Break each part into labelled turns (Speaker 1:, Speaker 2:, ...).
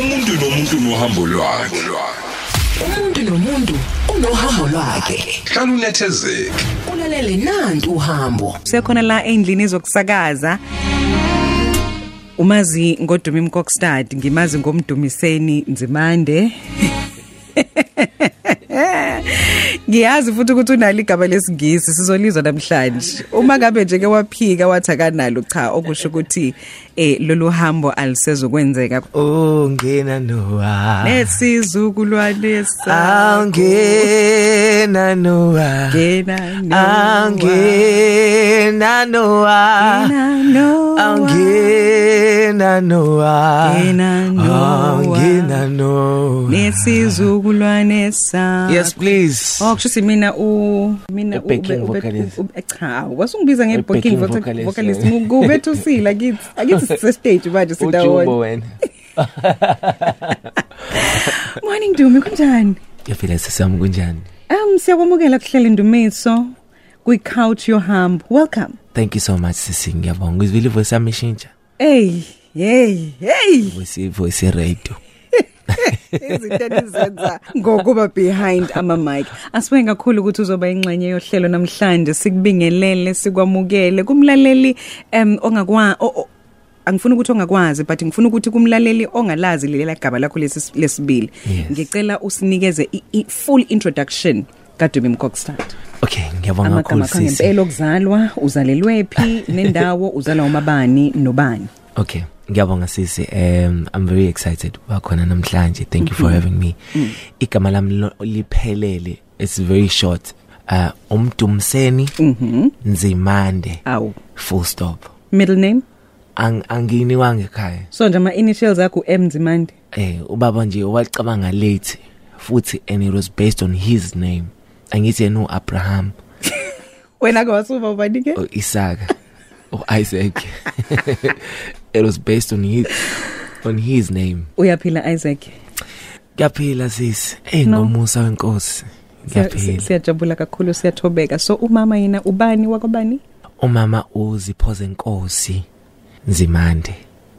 Speaker 1: umuntu nomuntu nohambo lwakhe
Speaker 2: umuntu nomuntu unohambo lwakhe
Speaker 1: hlala unethezeke
Speaker 2: ulalele nantu uhambo
Speaker 3: sekhona la endlini ezokusakaza umazi ngodumi mkokstad ngimazi ngomdumiseni nzimande ngiyazi futhi ukuthi unalo igama lesingisi sizolizwa namhlanje uma ngabe nje ke waphika wathi akanalo cha okusho ukuthi eh lolu hambo alisezokwenzeka
Speaker 4: ungena nowa
Speaker 3: nesizukulwane
Speaker 4: angena nowa angena nowa angena nowa
Speaker 3: Angena nowa.
Speaker 4: angena nowa
Speaker 3: nesizukulwane sa
Speaker 4: yes please
Speaker 3: Oh kusho mina u mina u-
Speaker 4: Backing
Speaker 3: ube- ube-
Speaker 4: vocalist.
Speaker 3: ube- cha wasungibiza nge
Speaker 4: Backing
Speaker 3: backing voca-
Speaker 4: vocalist,
Speaker 3: vocalist
Speaker 4: yeah.
Speaker 3: ngubethu sila kithi akithi sise stage
Speaker 4: Ujumbo
Speaker 3: manje sindawona
Speaker 4: wena
Speaker 3: Morning Dumi kunjani
Speaker 4: yaphela sesami kunjani
Speaker 3: Um siyakwamukela kuhlele Ndumiso kwi couch yohambo welcome
Speaker 4: thank you so much sisi ngiyabonga ngizwile voice yami ishintsha
Speaker 3: Hey hey hey
Speaker 4: voice voice radio
Speaker 3: izinto enizenza ngokuba behind ama mic asibuye kakhulu ukuthi uzoba ingxenye yohlelo namhlanje sikubingelele sikwamukele kumlaleli em ongakwa o- o- angifuni ukuthi ongakwazi but ngifuna ukuthi kumlaleli ongalazi lelela gaba lakho lesi lesibili
Speaker 4: Yes.
Speaker 3: ngicela usinikeze i- i- full introduction kaDumi Mkokstad
Speaker 4: okay ngiyabonga kakhulu
Speaker 3: amagama akho
Speaker 4: sisi
Speaker 3: ngempela okuzalwa uzalelwephi nendawo uzalwa umabani nobani
Speaker 4: Okay, ngiyabonga sisi. Um I'm very excited bakhona namhlanje. Thank you for having me. Igama lami lo- liphelele. It's very short. Uh umdumseni nzimande.
Speaker 3: awu
Speaker 4: Full stop.
Speaker 3: middle name
Speaker 4: Ang angini wange ekhaya.
Speaker 3: so nje ama initials akho M Dzimande
Speaker 4: Eh ubaba nje wacabanga late futhi and it was based on his name. Angithi no Abraham
Speaker 3: wena ke wasuba ubani ke
Speaker 4: or Isaac or Isaac. it was based on his on his name.
Speaker 3: uyaphila isaac
Speaker 4: Ngiyaphila sisi. Eh
Speaker 3: No.
Speaker 4: ngomusa wenkosi.
Speaker 3: Siya-
Speaker 4: Ngiyaphila.
Speaker 3: siyajabula kakhulu siyathobeka so umama yena ubani wakwabani
Speaker 4: Umama uziphoze inkosi Nzimande.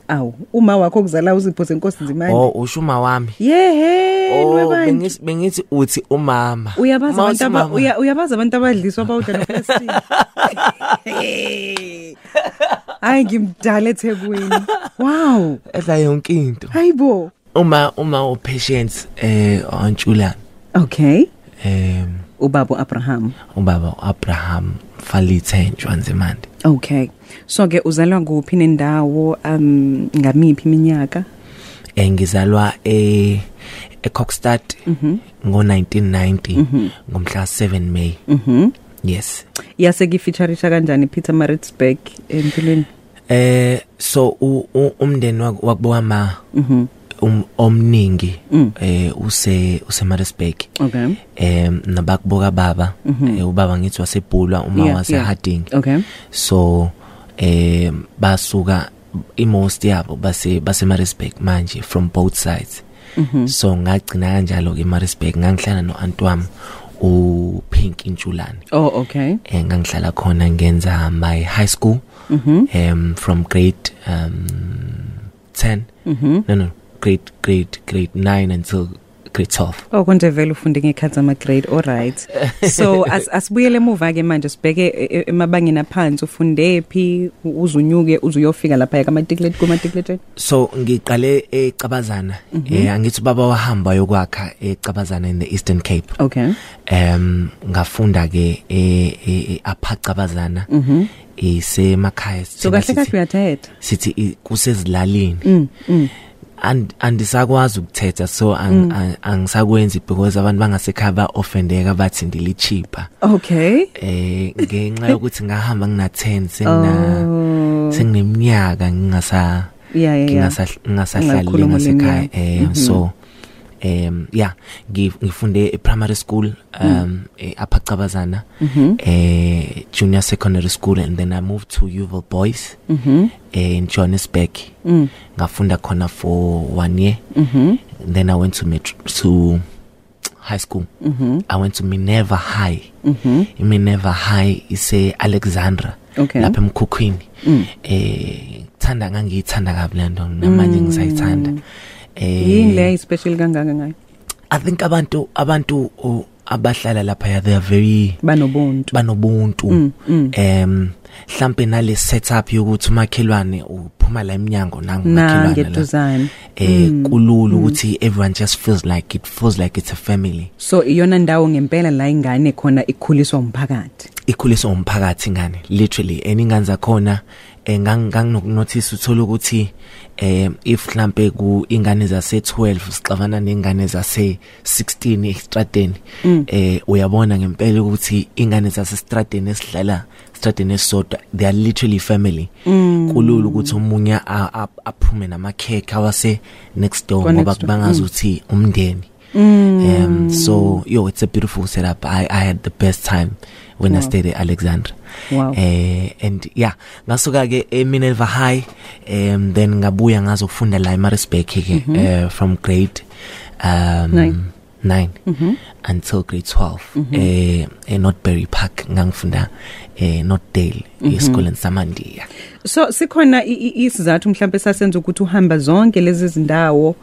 Speaker 3: awu uma wakho kuzala uzipho zenkosi nzimane
Speaker 4: Oh ushuma wami. Oh,
Speaker 3: yehe lwebandla
Speaker 4: bengithi bengithi uthi umama.
Speaker 3: uyabaza
Speaker 4: Uma
Speaker 3: abantu
Speaker 4: uthi
Speaker 3: aba-
Speaker 4: mama,
Speaker 3: uya- uyabaza abantu abadliswa bawudla noplastic Hey. hayi ngimdala ethekwini wow
Speaker 4: edla yonke into.
Speaker 3: hayibo
Speaker 4: Uma uma u patients eh ontshula
Speaker 3: okay
Speaker 4: eh
Speaker 3: ubaba abraham
Speaker 4: ubaba Abraham Falithenjwa Nzimande.
Speaker 3: okay so ke uzalwa kuphi nendawo um ngamiphi iminyaka
Speaker 4: Eh ngizalwa eh eCockstad
Speaker 3: Mhm.
Speaker 4: ngo1990 ngomhla 7 May.
Speaker 3: mhm
Speaker 4: Yes.
Speaker 3: yase kifeatureisha kanjani Peter Maritzburg empilweni
Speaker 4: eh so u- u- umndeni wak- wakubo ma
Speaker 3: Mhm.
Speaker 4: um omningi eh use useMaritzburg
Speaker 3: Mm. okay Mhm.
Speaker 4: em nabakuboka baba Eh, ubaba ngithi wasebhulwa uma
Speaker 3: Yeah,
Speaker 4: wase
Speaker 3: yeah.
Speaker 4: Harding
Speaker 3: okay
Speaker 4: so em basuka imost yabo base baseMaritzburg manje from both sides
Speaker 3: Mhm.
Speaker 4: so ngagcina kanjalo ke Maritzburg ngangihlala noAntwam u Pink Intshulane
Speaker 3: oh okay
Speaker 4: eh ngangihlala khona ngenza my high school
Speaker 3: Mm-hmm.
Speaker 4: um from grade um 10
Speaker 3: Mm-hmm.
Speaker 4: no no grade grade grade 9 until grade 12
Speaker 3: Oh konje vele ufunde ngekhathi ama grade all right so as asibuyele emuva ke manje sibheke e- e- emabangeni aphansi ufunde phi u- uze unyuke uze uyofika lapha ka matriculate ku matriculate
Speaker 4: so ngiqale ecabazana
Speaker 3: Mm-hmm.
Speaker 4: eh angithi baba wahamba yokwakha ecabazana in the Eastern Cape
Speaker 3: okay
Speaker 4: em ngafunda ke e- e- e- aphacabazana isemakhaya
Speaker 3: Mm-hmm. so
Speaker 4: thina
Speaker 3: kahle kahle Mm.
Speaker 4: sithi-
Speaker 3: uyathetha
Speaker 4: sithi i- kusezilalini and andisakwazi ukuthetha so ang-
Speaker 3: Mm.
Speaker 4: ang- angisakwenzi because abantu bangasekhaya ba-offendeka bathi ndilichipha
Speaker 3: okay
Speaker 4: eh ngenxa yokuthi ngahamba ngina 10
Speaker 3: Oh.
Speaker 4: sengina sengineminyaka ngingasa
Speaker 3: Yeah, yeah, yeah.
Speaker 4: ngingasa ngingasahlali
Speaker 3: Ungakhuluma ulimi,
Speaker 4: ngasekhaya
Speaker 3: yeah.
Speaker 4: eh so
Speaker 3: Mm-hmm.
Speaker 4: um yeah ngi- ngifunde e primary school
Speaker 3: Mm.
Speaker 4: um e- aphacabazana
Speaker 3: Mm-hmm.
Speaker 4: eh junior secondary school and then I moved to Yuval Boys
Speaker 3: Mm-hmm.
Speaker 4: Eh, in Johannesburg
Speaker 3: Mm.
Speaker 4: ngafunda khona for 1 year
Speaker 3: Mm-hmm.
Speaker 4: then I went to metro, to high school
Speaker 3: Mm-hmm.
Speaker 4: I went to Minerva High Minerva High ise Alexandra
Speaker 3: Okay. Mm.
Speaker 4: lapha emkhukhwini eh ngithanda ngangiyithanda kabi le nto namanje ngisayithanda
Speaker 3: Mm. yini le special kangaka ngayo
Speaker 4: I think abantu abantu oh, abahlala lapha they are very
Speaker 3: banobuntu
Speaker 4: banobuntu
Speaker 3: Mm, mm.
Speaker 4: em mhlambe nale setup yokuthi umakhelwane uphuma la eminyango nangu
Speaker 3: nange
Speaker 4: umakhelwane la.
Speaker 3: eduzane Mm,
Speaker 4: eh kululu ukuthi everyone just feels like it feels like it's a family
Speaker 3: so iyona ndawo ngempela la ingane khona ikhuliswa umphakathi
Speaker 4: ikhuliswa umphakathi ngane literally eh, eningane zakhona nganginokunotice uthola ukuthi eh if mhlambe ku ingane zase 12 sixavana nengane zase 16 estradeni eh uyabona ngempela ukuthi ingane zase estradeni esidlala estradeni esodwa they are literally family kulula ukuthi umunye a- a- aphume namakhekhe awase next door
Speaker 3: Kwa
Speaker 4: ngoba
Speaker 3: next door.
Speaker 4: kubangaza ukuthi umndeni
Speaker 3: Mm.
Speaker 4: Um, so yo, it's a beautiful setup. I, I had the best time when I stayed at Alexandra.
Speaker 3: Wow.
Speaker 4: Uh, and yeah, ngasuka ke eMinerva High, um, then ngabuya ngazofunda la eMaritzburg ke uh, from grade um,
Speaker 3: Mm-hmm. Nine. Mm-hmm.
Speaker 4: 9 until grade 12 eh eNotbury Park ngangifunda eh Northdale
Speaker 3: Mm-hmm.
Speaker 4: esikoleni samandiya
Speaker 3: so sikhona i- i- isizathu mhlawumbe sasenza ukuthi uhamba zonke lezi zindawo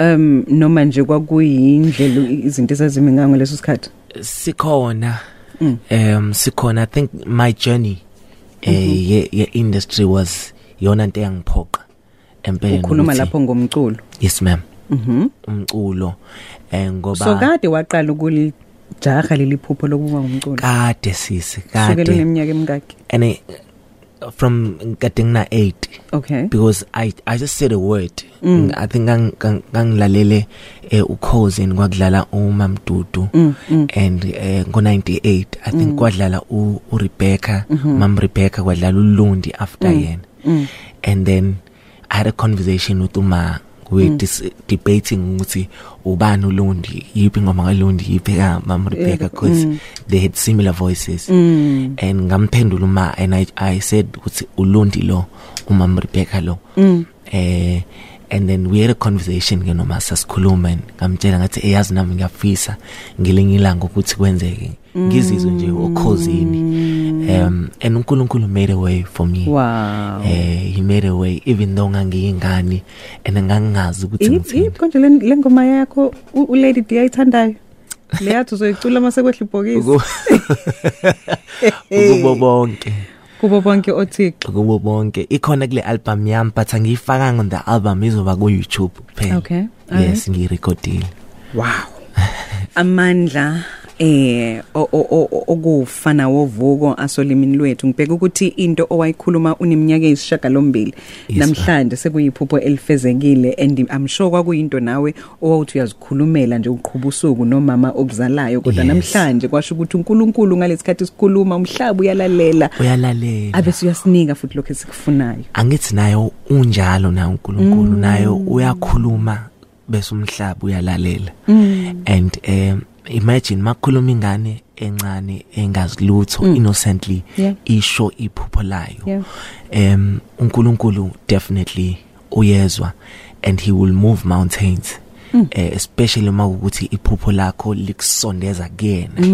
Speaker 3: um noma nje kwakuyindlela i- izinto ezazimi ngayo ngaleso sikhathi
Speaker 4: sikhona
Speaker 3: Mm.
Speaker 4: um sikhona i think my journey eh
Speaker 3: Mm-hmm.
Speaker 4: ye, ye industry was yona into yangiphoqa empeleni
Speaker 3: ukhuluma
Speaker 4: ukuthi-
Speaker 3: lapho ngomculo
Speaker 4: yes ma'am mhm umculo eh ngoba
Speaker 3: so kade waqala ukulijaha leli phupho lokuba ngumculo
Speaker 4: kade sisi
Speaker 3: sukela
Speaker 4: kade
Speaker 3: uneminyaka emingaki
Speaker 4: and eh, from kade ngina 8
Speaker 3: okay
Speaker 4: because i i just said a word mm. i think ngang- ngang- ngangilalele eh, ucosin kwadlala umamdudu mm, mm. and eh, ngo98 i think mm. kwadlala u, u Rebecca mm -hmm. mam Rebecca kwadlala uLundi after mm. yena mm. and then i had a conversation with uma we mm. dis- debating ukuthi ubani uLundi yipi ngoma kaLundi yipi ka mam Rebecca because mm. they had similar voices mm. and ngamphendula uma and i i said ukuthi uLundi lo umam Rebecca lo mm. eh and then we had a conversation ke noma sasikhuluma and ngamtshela ngathi eyazi nami ngiyafisa ngelinye ilanga ukuthi kwenzeke ngizizwe nje okhozini um and uNkulunkulu made a way for me
Speaker 3: wow
Speaker 4: eh he made a way even though ngangiyingane and ngangazi ukuthi
Speaker 3: Yip,
Speaker 4: ngithini
Speaker 3: yip, konje le le ngoma yakho u- ulady d ayithandayo le yathi uzoyicula uma sekwehla ibhokisi
Speaker 4: Uku- kubo bonke
Speaker 3: kubo bonke othixo
Speaker 4: kubo bonke ikhona kule album yami but angiyifakanga on the album izoba ku YouTube kuphela
Speaker 3: Okay, alright.
Speaker 4: yes ngiyirecordile
Speaker 3: wow amandla eh o- o- o- okufana wovuko asolimini lwethu ngibheka ukuthi into owayikhuluma uneminyaka eyisishiyagalombili
Speaker 4: Yes,
Speaker 3: namhlanje sekuyiphupho elifezekile and I'm sure kwakuyinto nawe owawuthi uyazikhulumela nje uqhubu usuku nomama okuzalayo kodwa
Speaker 4: Yes.
Speaker 3: namhlanje kwasho ukuthi uNkulunkulu ngalesikhathi sikhuluma umhlaba uyalalela
Speaker 4: uyalalela
Speaker 3: abese uyasinika futhi lokho esikufunayo
Speaker 4: angithi nayo unjalo nayo uNkulunkulu
Speaker 3: Mm.
Speaker 4: nayo uyakhuluma bese umhlaba uyalalela
Speaker 3: Mm.
Speaker 4: and um imagine makhuluma ingane encane engazilutho innocently
Speaker 3: Mm. Yeah.
Speaker 4: isho iphupho layo
Speaker 3: Yeah.
Speaker 4: um uNkulunkulu definitely uyezwa and he will move mountains eh especially uma ukuthi iphupho lakho likusondeza kuyena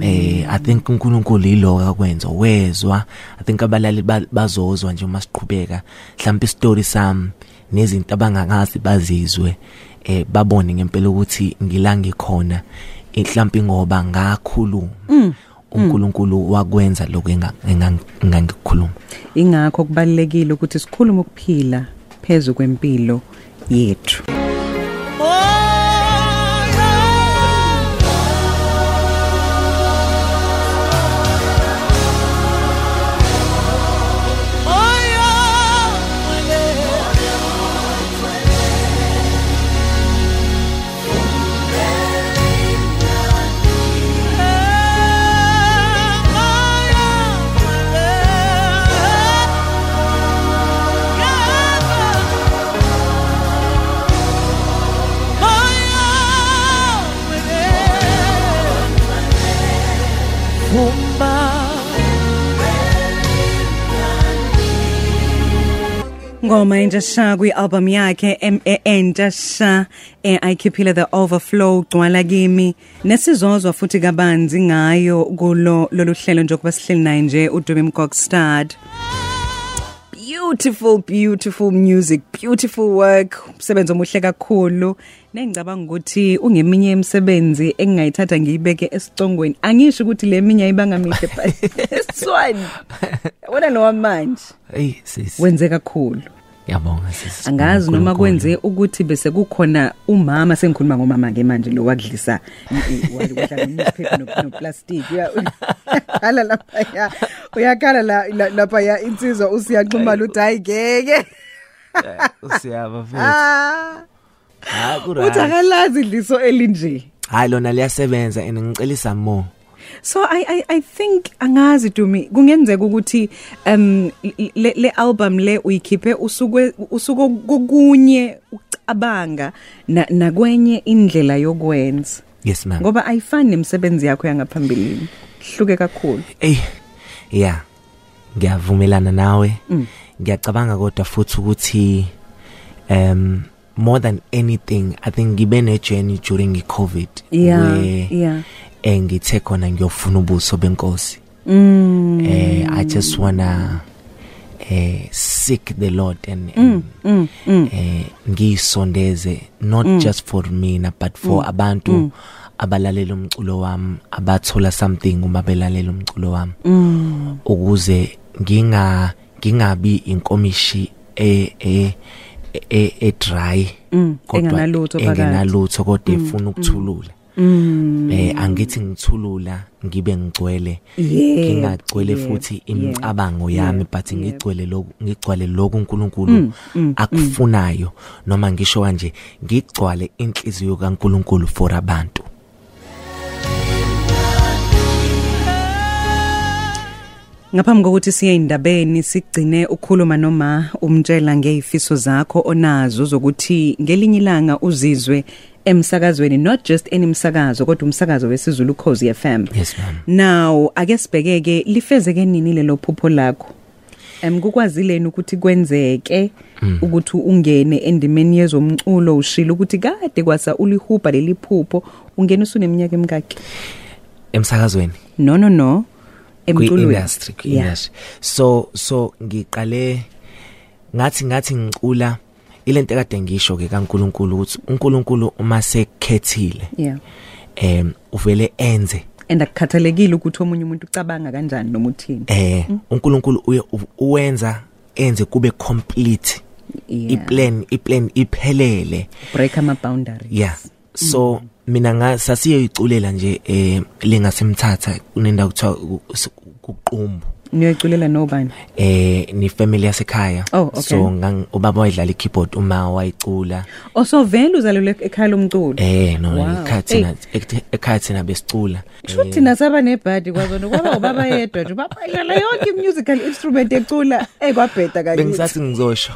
Speaker 4: eh i think uNkulunkulu yiloka kwenza wezwa i think abalali ba- bazozwa nje uma siqhubeka mhlawumbe istory sami nezinto abangangazi bazizwe eh babone ngempela ukuthi ngilangi khona mhlawumbe ngoba ngakhuluma uNkulunkulu wakwenza lokho enga- enga- engangikukhuluma
Speaker 3: ingakho kubalekile ukuthi sikhulume ukuphila phezulu kwempilo yethu ngoma entsha sha kwi-album yakhe M- e- entsha sha eh, ayikhiphile the overflow gcwala kimi nesizozwa futhi kabanzi ngayo kulo lolu hlelo njengokuba sihleli naye nje udube mgokstad beautiful beautiful music beautiful work umsebenzi omuhle kakhulu nengicabanga ukuthi ungeminye imisebenzi engingayithatha ngiyibeke esicongweni angisho ukuthi le minye ayibanga mihle but this one wona lo manje
Speaker 4: hey sis
Speaker 3: wenze kakhulu
Speaker 4: yabonga sis
Speaker 3: angazi noma
Speaker 4: UNkulunkulu.
Speaker 3: kwenze ukuthi bese kukhona umama sengikhuluma ngomama ke manje lo wadlisa wadla newspaper no- no plastic uya hala lapha ya uyakhala la- la- lapha ya insizwa usiyaxhumana uthi hayi ngeke
Speaker 4: eh, usiyaba futhi
Speaker 3: Ah,
Speaker 4: ha
Speaker 3: uthi
Speaker 4: kura
Speaker 3: akalazi idliso elinje
Speaker 4: hayi lona liyasebenza and ngicelisa more
Speaker 3: so i i i think angazi dumi kungenzeka ukuthi um le, le album le uyikhiphe usuke usuko kokunye ucabanga na nakwenye indlela yokwenza
Speaker 4: yes ma'am
Speaker 3: ngoba ayifani nemsebenzi yakho yangaphambilini hluke kakhulu
Speaker 4: Ey. Yeah. Ngiyavumelana nawe.
Speaker 3: Mm.
Speaker 4: Ngiyacabanga kodwa futhi ukuthi um more than anything I think ngibe ne journey during iCovid.
Speaker 3: Yeah,
Speaker 4: where,
Speaker 3: yeah.
Speaker 4: Eh ngithe khona ngiyofuna ubuso benkosi.
Speaker 3: mm
Speaker 4: Eh I just wanna eh seek the Lord and, and
Speaker 3: mm, mm.
Speaker 4: eh ngisondeze not mm. just for mina but for mm. abantu mm. abalalela umculo wami abathola something uma belalela umculo wami mm. ukuze nginga ngingabi inkomishi e e e, e dry
Speaker 3: Mm,
Speaker 4: kodwa
Speaker 3: engenalutho phakathi. Mm,
Speaker 4: engenalutho kodwa efuna ukuthulula eh angithi ngithulula ngibe ngigcwele
Speaker 3: Yebo,
Speaker 4: ngingagcwele
Speaker 3: yebo,
Speaker 4: futhi
Speaker 3: yebo,
Speaker 4: imicabango yami but
Speaker 3: yebo.
Speaker 4: ngigcwele lokhu ngigcwale lokhu
Speaker 3: Mm,
Speaker 4: uNkulunkulu akufunayo noma ngisho kanje ngigcwale inhliziyo kaNkulunkulu for abantu
Speaker 3: Ngaphambi kokuthi siye indabeni sigcine ukukhuluma noma umtshela ngeifiso zakho onazo zokuthi ngelinye ilanga uzizwe emsakazweni not just enemsakazo kodwa umsakazo wesizulu Khosi FM.
Speaker 4: Yes, ma'am.
Speaker 3: Now ake sibhekeke lifezeke nini lelo phupho lakho? Em kukwazileni ukuthi kwenzeke
Speaker 4: Hmm.
Speaker 3: ukuthi ungene endimeni yezomculo ushilo ukuthi kade kwasa ulihuba leliphupho ungena usuneminyaka emkakhe.
Speaker 4: emsakazweni
Speaker 3: No no no.
Speaker 4: kwi-industry
Speaker 3: Yeah.
Speaker 4: kwi-industry so so ngiqale ngathi ngathi ngicula ilento ekade ngisho ke kaNkuluNkulu ukuthi uNkulunkulu uma sekhethile
Speaker 3: Yeah.
Speaker 4: em uvele enze
Speaker 3: and akukhathalekile ukuthi omunye umuntu ucabanga kanjani noma uthini
Speaker 4: eh uNkulunkulu uye u- uwenza enze kube complete
Speaker 3: Yeah.
Speaker 4: iplan iplan iphelele
Speaker 3: break ama boundaries
Speaker 4: yeah so
Speaker 3: Mm.
Speaker 4: mina nga sasiyiculela nje eh lingasemthatha kunendawo kuthiwa ku- ku- kuqumbu
Speaker 3: niyoyiculela nobani
Speaker 4: eh ni family yasekhaya
Speaker 3: Oh, okay.
Speaker 4: so ngang- ubaba wayedlala i-keyboard uma wayicula
Speaker 3: oso Oh, vele uzalelwe ekhaya lomculo
Speaker 4: eh no
Speaker 3: Wow.
Speaker 4: ikhathi na ikhathi na besicula
Speaker 3: Kusho
Speaker 4: eh.
Speaker 3: thina saba nebhadi kwazona kwaba ubaba yedwa nje babalala yonke i-musical instrument ecula eyi kwabheda kayithi
Speaker 4: Eh, bengisathi ngizosho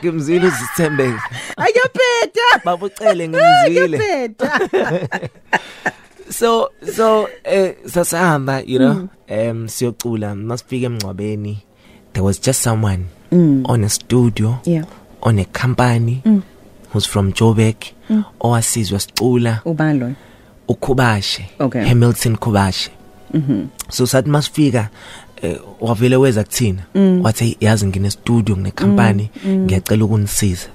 Speaker 4: ngimzile uzithembeke
Speaker 3: ayobheda
Speaker 4: babucele ngimzile
Speaker 3: ayobheda
Speaker 4: so so eh sasahamba you know um siyocula masifika emngcwabeni there was just someone on a studio
Speaker 3: Yeah.
Speaker 4: on a company who's from Joburg owasizwa sicula
Speaker 3: ubani loyo
Speaker 4: ukhubashe
Speaker 3: Okay. Mm-hmm.
Speaker 4: Hamilton khubashe so sathi masifika eh, wavele weza kuthina
Speaker 3: Mm.
Speaker 4: wathi yazi ngine studio ngine company ngiyacela ukunisiza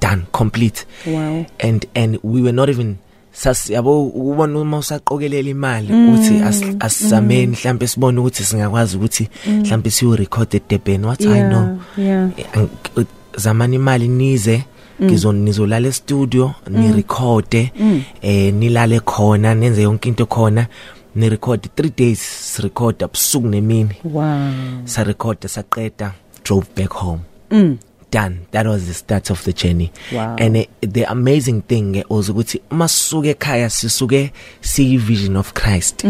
Speaker 4: done complete
Speaker 3: Mm-hmm. Wow.
Speaker 4: and and we were not even sas yabo ubona uma usaqokelela imali
Speaker 3: Mm.
Speaker 4: uthi as- asizameni mhlambe sibone ukuthi singakwazi ukuthi mhlambe siyo record eDurban wathi i
Speaker 3: Mm. Yeah,
Speaker 4: know
Speaker 3: yeah.
Speaker 4: Eh, ang- eh, zamani imali nize ngizonizolala e-studio ni record eh nilale khona nenze yonke into khona ni record 3 days record abusuku nemini
Speaker 3: wow
Speaker 4: sa record saqeda drove back home mm. done that was the start of the journey
Speaker 3: Wow.
Speaker 4: and uh, the amazing thing eh, was ukuthi uma sisuke ekhaya sisuke siyi vision of Christ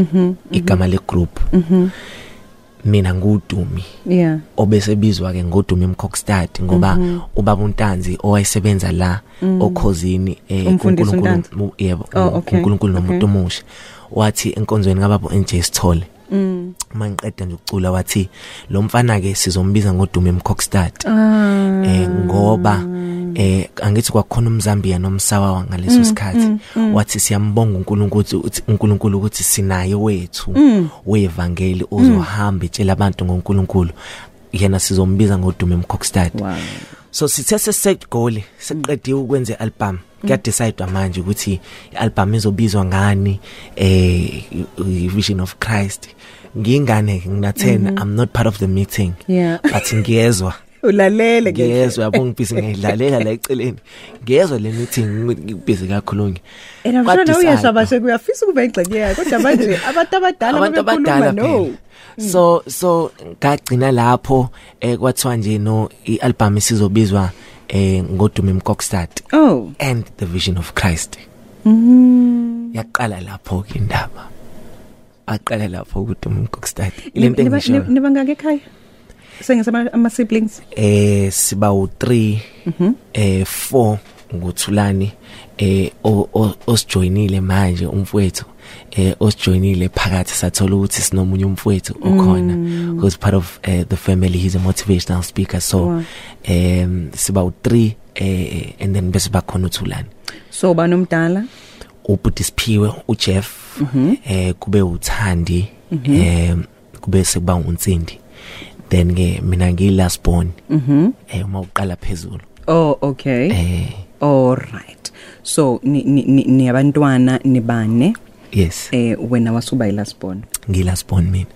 Speaker 4: igama le group mina ngudumi
Speaker 3: yeah
Speaker 4: obesebizwa ke ngodumi mkhokstad ngoba
Speaker 3: Mhm.
Speaker 4: ubaba untanzi owayesebenza la okhozini eh,
Speaker 3: Umfundisi
Speaker 4: kuNkulunkulu-
Speaker 3: uNtanzi?
Speaker 4: mu- yebo
Speaker 3: Oh,
Speaker 4: mu-
Speaker 3: okay,
Speaker 4: uNkulunkulu nomuntu
Speaker 3: okay.
Speaker 4: omusha wathi enkonzweni kababa uNJ Sithole
Speaker 3: Mm.
Speaker 4: uma ngiqeda nje ukucula wathi lo mfana ke sizombiza ngodumi mkhokstad
Speaker 3: Ah,
Speaker 4: eh ngoba eh angithi kwakhona umzambia nomsawa ngaleso sikhathi wathi siyambonga uNkulunkulu ukuthi- uthi- uNkulunkulu ukuthi sinaye wethu wevangeli ozohamba etshela abantu ngoNkulunkulu yena sizombiza ngodume mkhokstad
Speaker 3: Wow.
Speaker 4: so sithe sesigoli siqedile ukwenza i-album kuya decide manje ukuthi i-album izobizwa ngani eh i- i- vision of Christ ngingane ngina10 i'm not part of the meeting
Speaker 3: Yeah.
Speaker 4: but ngiyezwa
Speaker 3: ulalele ke
Speaker 4: ngiyezwa yabo ngibhizi ngiyilalela la eceleni ngiyezwa le meeting ngibhizi kakhulungi
Speaker 3: and i'm sure nawe uyasho abashe kuyafisa ukuba ingxenye yayo kodwa manje abantu abadala
Speaker 4: abantu abadala
Speaker 3: babekhuluma no Mm.
Speaker 4: phela so so ngagcina lapho eh kwathiwa nje no i-album isizobizwa eh ngodume mkokstad
Speaker 3: oh
Speaker 4: and the vision of Christ
Speaker 3: Mm.
Speaker 4: yaqala lapho ke indaba aqala lapho ukuthi umkokstad lento
Speaker 3: Niba-
Speaker 4: engisho
Speaker 3: niba- nibangaka ekhaya sengisama ama siblings
Speaker 4: eh siba u3 eh 4 nguthulani eh o- o- osijoinile manje umfowethu eh osijoinile phakathi sathola ukuthi sinomunye umfowethu okhona who's part of eh, the family he's a motivational speaker so
Speaker 3: Wow.
Speaker 4: um siba u3 eh and then bese bakhona uthulani
Speaker 3: so ba nomdala
Speaker 4: ubudisiphiwe uJeff eh kube uthandi eh kube sekuba unsindi then ke mina ngiyi last born eh uma uqala phezulu
Speaker 3: oh okay
Speaker 4: eh
Speaker 3: all right so ni ni- ni ni abantwana nibane
Speaker 4: yes
Speaker 3: eh wena wasuba yilast born
Speaker 4: ngiyi last born mina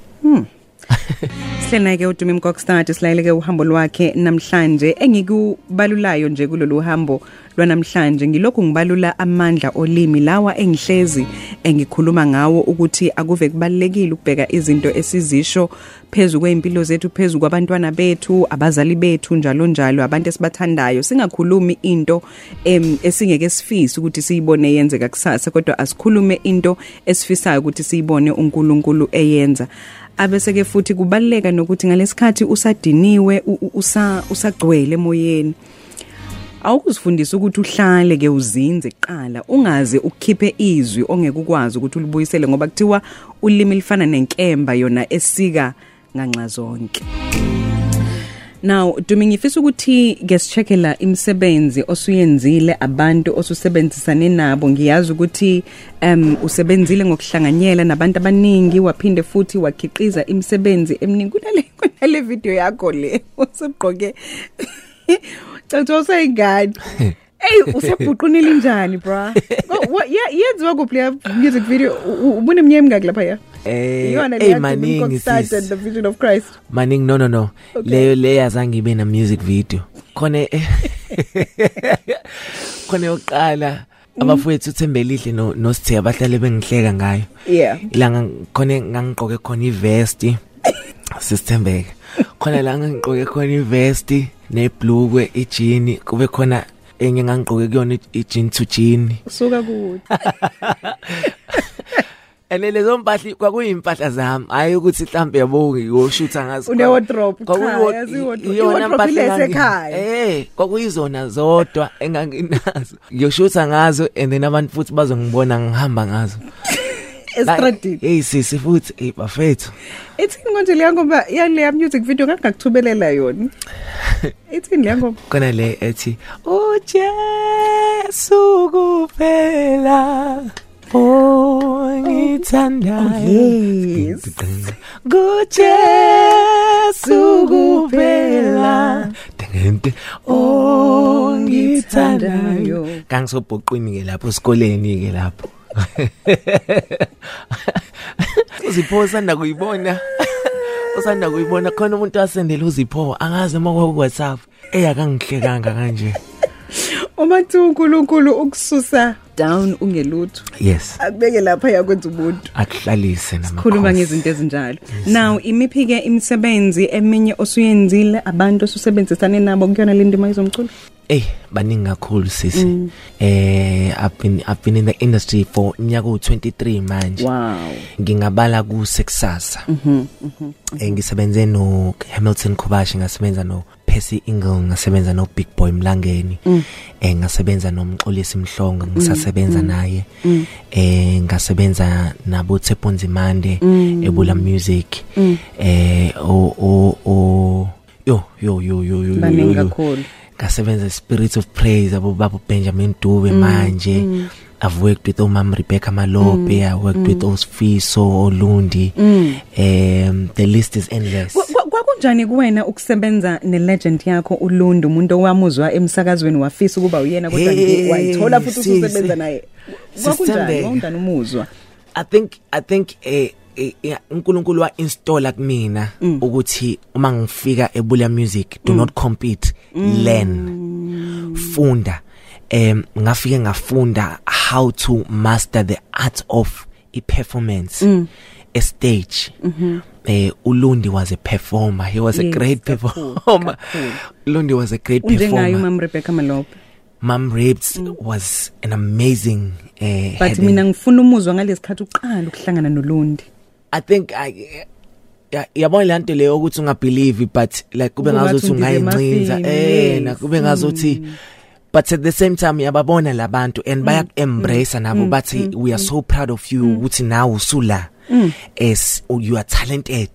Speaker 3: Sihlena ke uDumi Mkokstad silaleke uhambo lwakhe namhlanje engikubalulayo nje kulolu hambo lwanamhlanje ngilokhu ngibalula amandla olimi lawa engihlezi engikhuluma ngawo ukuthi akuve kubalekile ukubheka izinto esizisho phezulu kwezimpilo zethu phezulu kwabantwana bethu abazali bethu njalo njalo abantu esibathandayo singakhulumi into em, esingeke sifise ukuthi siyibone yenzeka kusasa kodwa asikhulume into esifisayo ukuthi siyibone uNkulunkulu eyenza abese ke futhi kubaleka nokuthi ngalesikhathi usadiniwe u- u- usa usagcwele emoyeni awukuzifundisa ukuthi uhlale ke uzinze kuqala ungaze ukukhiphe izwi ongeke ukwazi ukuthi ulibuyisele ngoba kuthiwa ulimi lifana nenkemba yona esika nganxa zonke Now Dumi ngifisa ukuthi ke sichekela imisebenzi osuyenzile abantu osusebenzisane nabo ngiyazi ukuthi um usebenzile ngokuhlanganyela nabantu abaningi waphinde futhi wakhiqiza imisebenzi eminingi kunale kunale video yakho le usugqoke Cacwa usayingane Ey usebhuqunile njani bra What- what- yeah yenziwa kuphi le music video ubunemnyemi ngakho lapha ya
Speaker 4: Eh,
Speaker 3: Iyona
Speaker 4: ey,
Speaker 3: le
Speaker 4: maningi,
Speaker 3: maningi
Speaker 4: sis.
Speaker 3: the vision of Christ
Speaker 4: maningi no no no leyo leyo azange ibe na music video khona eh, khona yoqala abafowethu uthembelihle no nosithe abahlale bengihleka ngayo
Speaker 3: Yeah.
Speaker 4: ilanga khona ngangigqoke khona ivesti sisithembeke khona la ngangigqoke khona ivesti neblukwe ijini kube khona enye ngangigqoke kuyona ijini to jean
Speaker 3: suka kude
Speaker 4: ene lezo mpahla kwakuyimpahla zami hayi ukuthi mhlambe yabo ngiyoshutha ngazo
Speaker 3: Une wardrobe,
Speaker 4: Kwaku-
Speaker 3: cha,
Speaker 4: kwakuyo-
Speaker 3: yazi iwardrobe.
Speaker 4: iyona
Speaker 3: Iwardrobe
Speaker 4: mpahla
Speaker 3: ile
Speaker 4: engangi-
Speaker 3: yasekhaya.
Speaker 4: eh kwakuyizona zodwa enganginazo ngiyoshutha ngazo and then abantu futhi bazongibona ngihamba ngazo
Speaker 3: estradini
Speaker 4: hey sisi futhi hey bafethu
Speaker 3: ithini konje leya ngoba yaleya music video ngangakuthubelela yona ithini leya ngoba
Speaker 4: khona le ethi uJesu kuphela ongithandayo
Speaker 3: yes.
Speaker 4: kuJesu kuphela tengente ongithandayo kangisobhoqweni ke lapho esikoleni ke lapho uzipho usanda kuyibona usanda kuyibona khona umuntu asendele uzipho angazi uma kwaku WhatsApp eyakangihlekanga kanje
Speaker 3: uma thi unkulunkulu ukususa down ungelutho
Speaker 4: yes
Speaker 3: akubeke lapha yakwenza ubuntu
Speaker 4: akuhlalise nama
Speaker 3: khuluma ngezinto ezinjalo now imiphi-ke imisebenzi eminye osuyenzile abantu osusebenzisane nabo kuyona le ndima yezomculo
Speaker 4: Hey, baningi kakhulu sisi. Eh, I've been I've been in the industry for nyaka u23 manje.
Speaker 3: wow
Speaker 4: Ngingabala ku Sexasa. Mhm. Eh ngisebenze no Hamilton Khobashi ngasebenza no Percy Ingle ngasebenza no Big Boy Mlangeni.
Speaker 3: Mm.
Speaker 4: Eh ngasebenza nomxolisi Mhlongo ngisasebenza
Speaker 3: mm,
Speaker 4: naye. Eh ngasebenza nabo Theponzimande
Speaker 3: Mm.
Speaker 4: ebula music. Eh o o o yo yo yo yo yo. yo,
Speaker 3: Baningi
Speaker 4: yo.
Speaker 3: kakhulu.
Speaker 4: ngasebenza spirits of praise abo babo Benjamin Dube mm. manje mm. I've worked with Omam Rebecca Malope mm. I worked mm. with Osfiso Olundi mm. um the list is endless
Speaker 3: Kwa- kwa- kwakunjani kuwena ukusebenza nelegend yakho uLundi umuntu owamuzwa emsakazweni wafisa ukuba uyena kodwa
Speaker 4: Hey,
Speaker 3: nje wayithola futhi
Speaker 4: sis.
Speaker 3: ususebenza naye kwakunjani
Speaker 4: Sisithembeka.
Speaker 3: kwakunjani umuzwa
Speaker 4: I think I think eh eh, eh, uNkulunkulu wa installa kumina
Speaker 3: Mm.
Speaker 4: ukuthi uma ngifika ebulia music do not compete
Speaker 3: Mm.
Speaker 4: learn funda em ngafike ngafunda how to master the art of i performance
Speaker 3: Mm.
Speaker 4: a stage eh uLundi was a performer he was a
Speaker 3: Mm-hmm. Yes,
Speaker 4: great
Speaker 3: kakhulu,
Speaker 4: performer
Speaker 3: kakhulu.
Speaker 4: Lundi was a great
Speaker 3: unjengayo
Speaker 4: performer
Speaker 3: umam Rebecca Malope
Speaker 4: Mom Rapes was an amazing eh
Speaker 3: Mm. but
Speaker 4: heading.
Speaker 3: mina ngifuna umuzwa ngalesikhathi uqala ukuhlangana noLundi
Speaker 4: I think I ya- yabona le nto leyo ukuthi ungabelieve but like kube
Speaker 3: Kube
Speaker 4: ngazothi
Speaker 3: ngathi
Speaker 4: ungayincinza
Speaker 3: ungena
Speaker 4: eh
Speaker 3: emafini,
Speaker 4: na kube ngazothi but at the same time yababona labantu and baya embrace nabo bathi we are so proud of you ukuthi nawe usula as oh, you are talented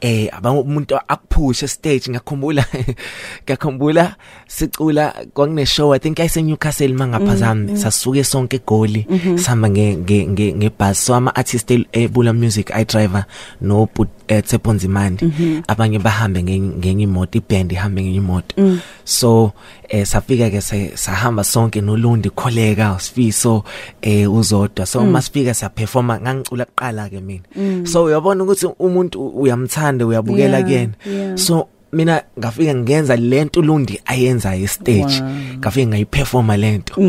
Speaker 4: eh abamuntu akuphushe stage ngiyakhumbula ngiyakhumbula sicula kwakune show i think ayise Newcastle mangaphazami sasuke sonke egoli sihamba nge nge- nge ngebus so ama artists ebula music i driver no Bhut- eh, Tshepo
Speaker 3: Mhm.
Speaker 4: Nzimande abanye bahambe nge- ngenye imoto iband ihambe ngenye imoto
Speaker 3: Mm.
Speaker 4: so eh safika ke se- sahamba sonke noLundi Kholeka usifiso eh uzodwa so
Speaker 3: Mm.
Speaker 4: masifika siyaperforma ngangicula kuqala ke mina so uyabona ukuthi umuntu u- uyamthanda uyabukela
Speaker 3: Yeah,
Speaker 4: kuyena
Speaker 3: yeah.
Speaker 4: so mina ngafika ngenza lento uLundi ayenza e stage
Speaker 3: Wow. Mm.
Speaker 4: ngafike ngayiperforma lento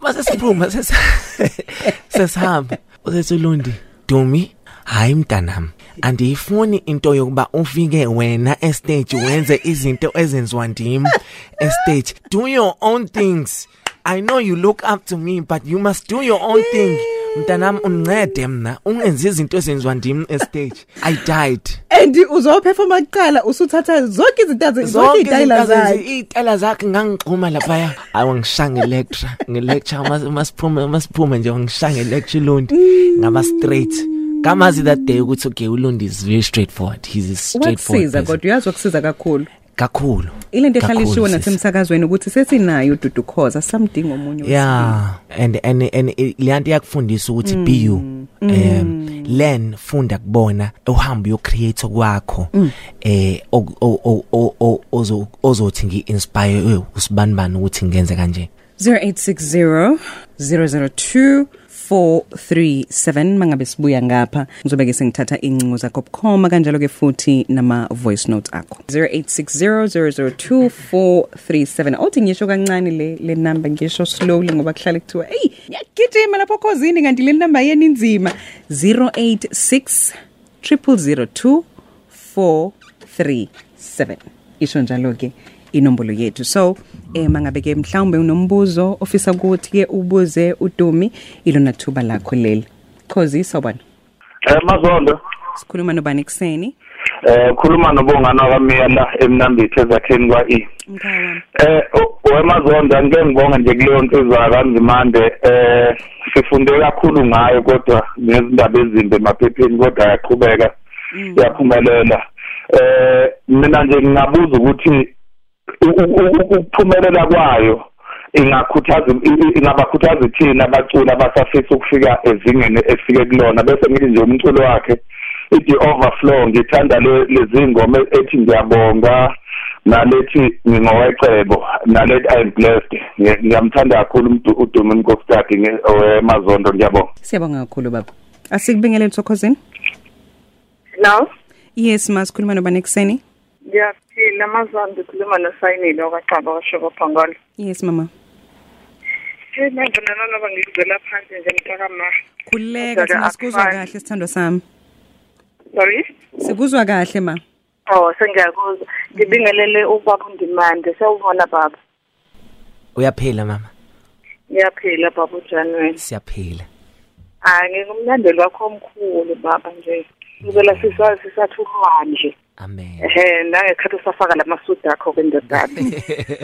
Speaker 4: mase siphuma ses sesihamba usethi uLundi Dumi hayi mntanami andiyifuni into yokuba ufike wena estage wenze izinto ezenziwa ndim estage do your own things i know you look up to me but you must do your own thing mntanami ungincede mna ungenzi izinto ezenziwa ndim estage i died
Speaker 3: and uzoperforma kuqala usuthatha zonke izinto zonke izitayila zakhe
Speaker 4: izitayila zakhe ngangixhuma laphaya hayi wangishaya nge-lecture nge-lecture mas- masiphume masiphume nje wangishaya nge-lecture ilundi ngaba straight ngamazi that day ukuthi okay uLundi is very straightforward he's a straightforward
Speaker 3: wakusiza
Speaker 4: person.
Speaker 3: kodwa uyazi wakusiza kakhulu
Speaker 4: kakhulu
Speaker 3: ilento ehlalishiwo
Speaker 4: Kakhulu, sis.
Speaker 3: nasemsakazweni ukuthi sesinayo ududukhoza samdinga omunye
Speaker 4: yeah and and and leyanto yakufundisa ukuthi be
Speaker 3: Mm.
Speaker 4: you um learn funda kubona uhambe yo create kwakho
Speaker 3: Mm.
Speaker 4: eh oku- o- o- o- o- ozo- ozothi ngi inspire eh, usibanibani ukuthi ngenze kanje
Speaker 3: 0860002437 mangabe sibuya ngapha ngizobe ke sengithatha incingo zakho bukhoma kanjalo ke futhi nama voice notes akho 0860002437 awuthi ngisho kancane le le number ngisho slowly ngoba kuhlale kuthiwa hey ngiyagijima lapho khosini kanti le number yeni inzima 086 0002 isho njalo-ke inombolo yethu so um mangabe-ke mhlawumbe unombuzo ofisa ukuthi-ke ubuze udumi ilona thuba lakho leli khozi sawubona
Speaker 5: Eh mazondo
Speaker 3: sikhuluma nobani ekuseni
Speaker 5: eh khuluma nobongana kaMiya la emnambithi ezakheni kwaE.
Speaker 3: mkhaya wami
Speaker 5: Eh oh, wemazondo angeke ngibonge nje kuleyo ntuzwa kaNzimande eh sifunde kakhulu ngayo kodwa nezindaba ezimbe emaphepheni kodwa yaqhubeka yaphumelela. Eh mina nje ngingabuza ukuthi u- u- u- u- ukuphumelela kwayo ingakhuthaza i- i- ingabakhuthaza thina abaculi abasafisa ukufika ezingeni efike kulona bese ngithi nje umculo wakhe ithi overflow ngithanda le lezingoma ethi ngiyabonga nalethi ngingowecebo nalethi I'm blessed Ngiya- ngiyamthanda kakhulu umdu- uDumi Nkosikazi nge- owemazondo ngiyabonga
Speaker 3: siyabonga kakhulu baba asikubingeleli thokozini
Speaker 6: Hello.
Speaker 3: yes ma sikhuluma nobani ekuseni
Speaker 6: Ngiyaphila amazwi ngikhuluma noSayinile okwaqaba kwashoba phangolo.
Speaker 3: yes mama
Speaker 6: Hey manje nana noba ngizwela phansi nje mntaka ma.
Speaker 3: khululeka thina sikuzwa kahle sithandwa sami
Speaker 6: Sorry.
Speaker 3: sikuzwa kahle ma
Speaker 6: Oh sengiyakuzwa. Ngibingelele ubaba uNdimande. Sawubona baba.
Speaker 4: uyaphila mama
Speaker 6: Ngiyaphila baba uJanwele.
Speaker 4: siyaphila
Speaker 6: Ah ngingumlandeli wakho omkhulu baba nje. Ngizela siswa sisathulwa nje.
Speaker 4: amen
Speaker 6: Ehhe nangekhathi usafaka lamasudu akho kwendodana.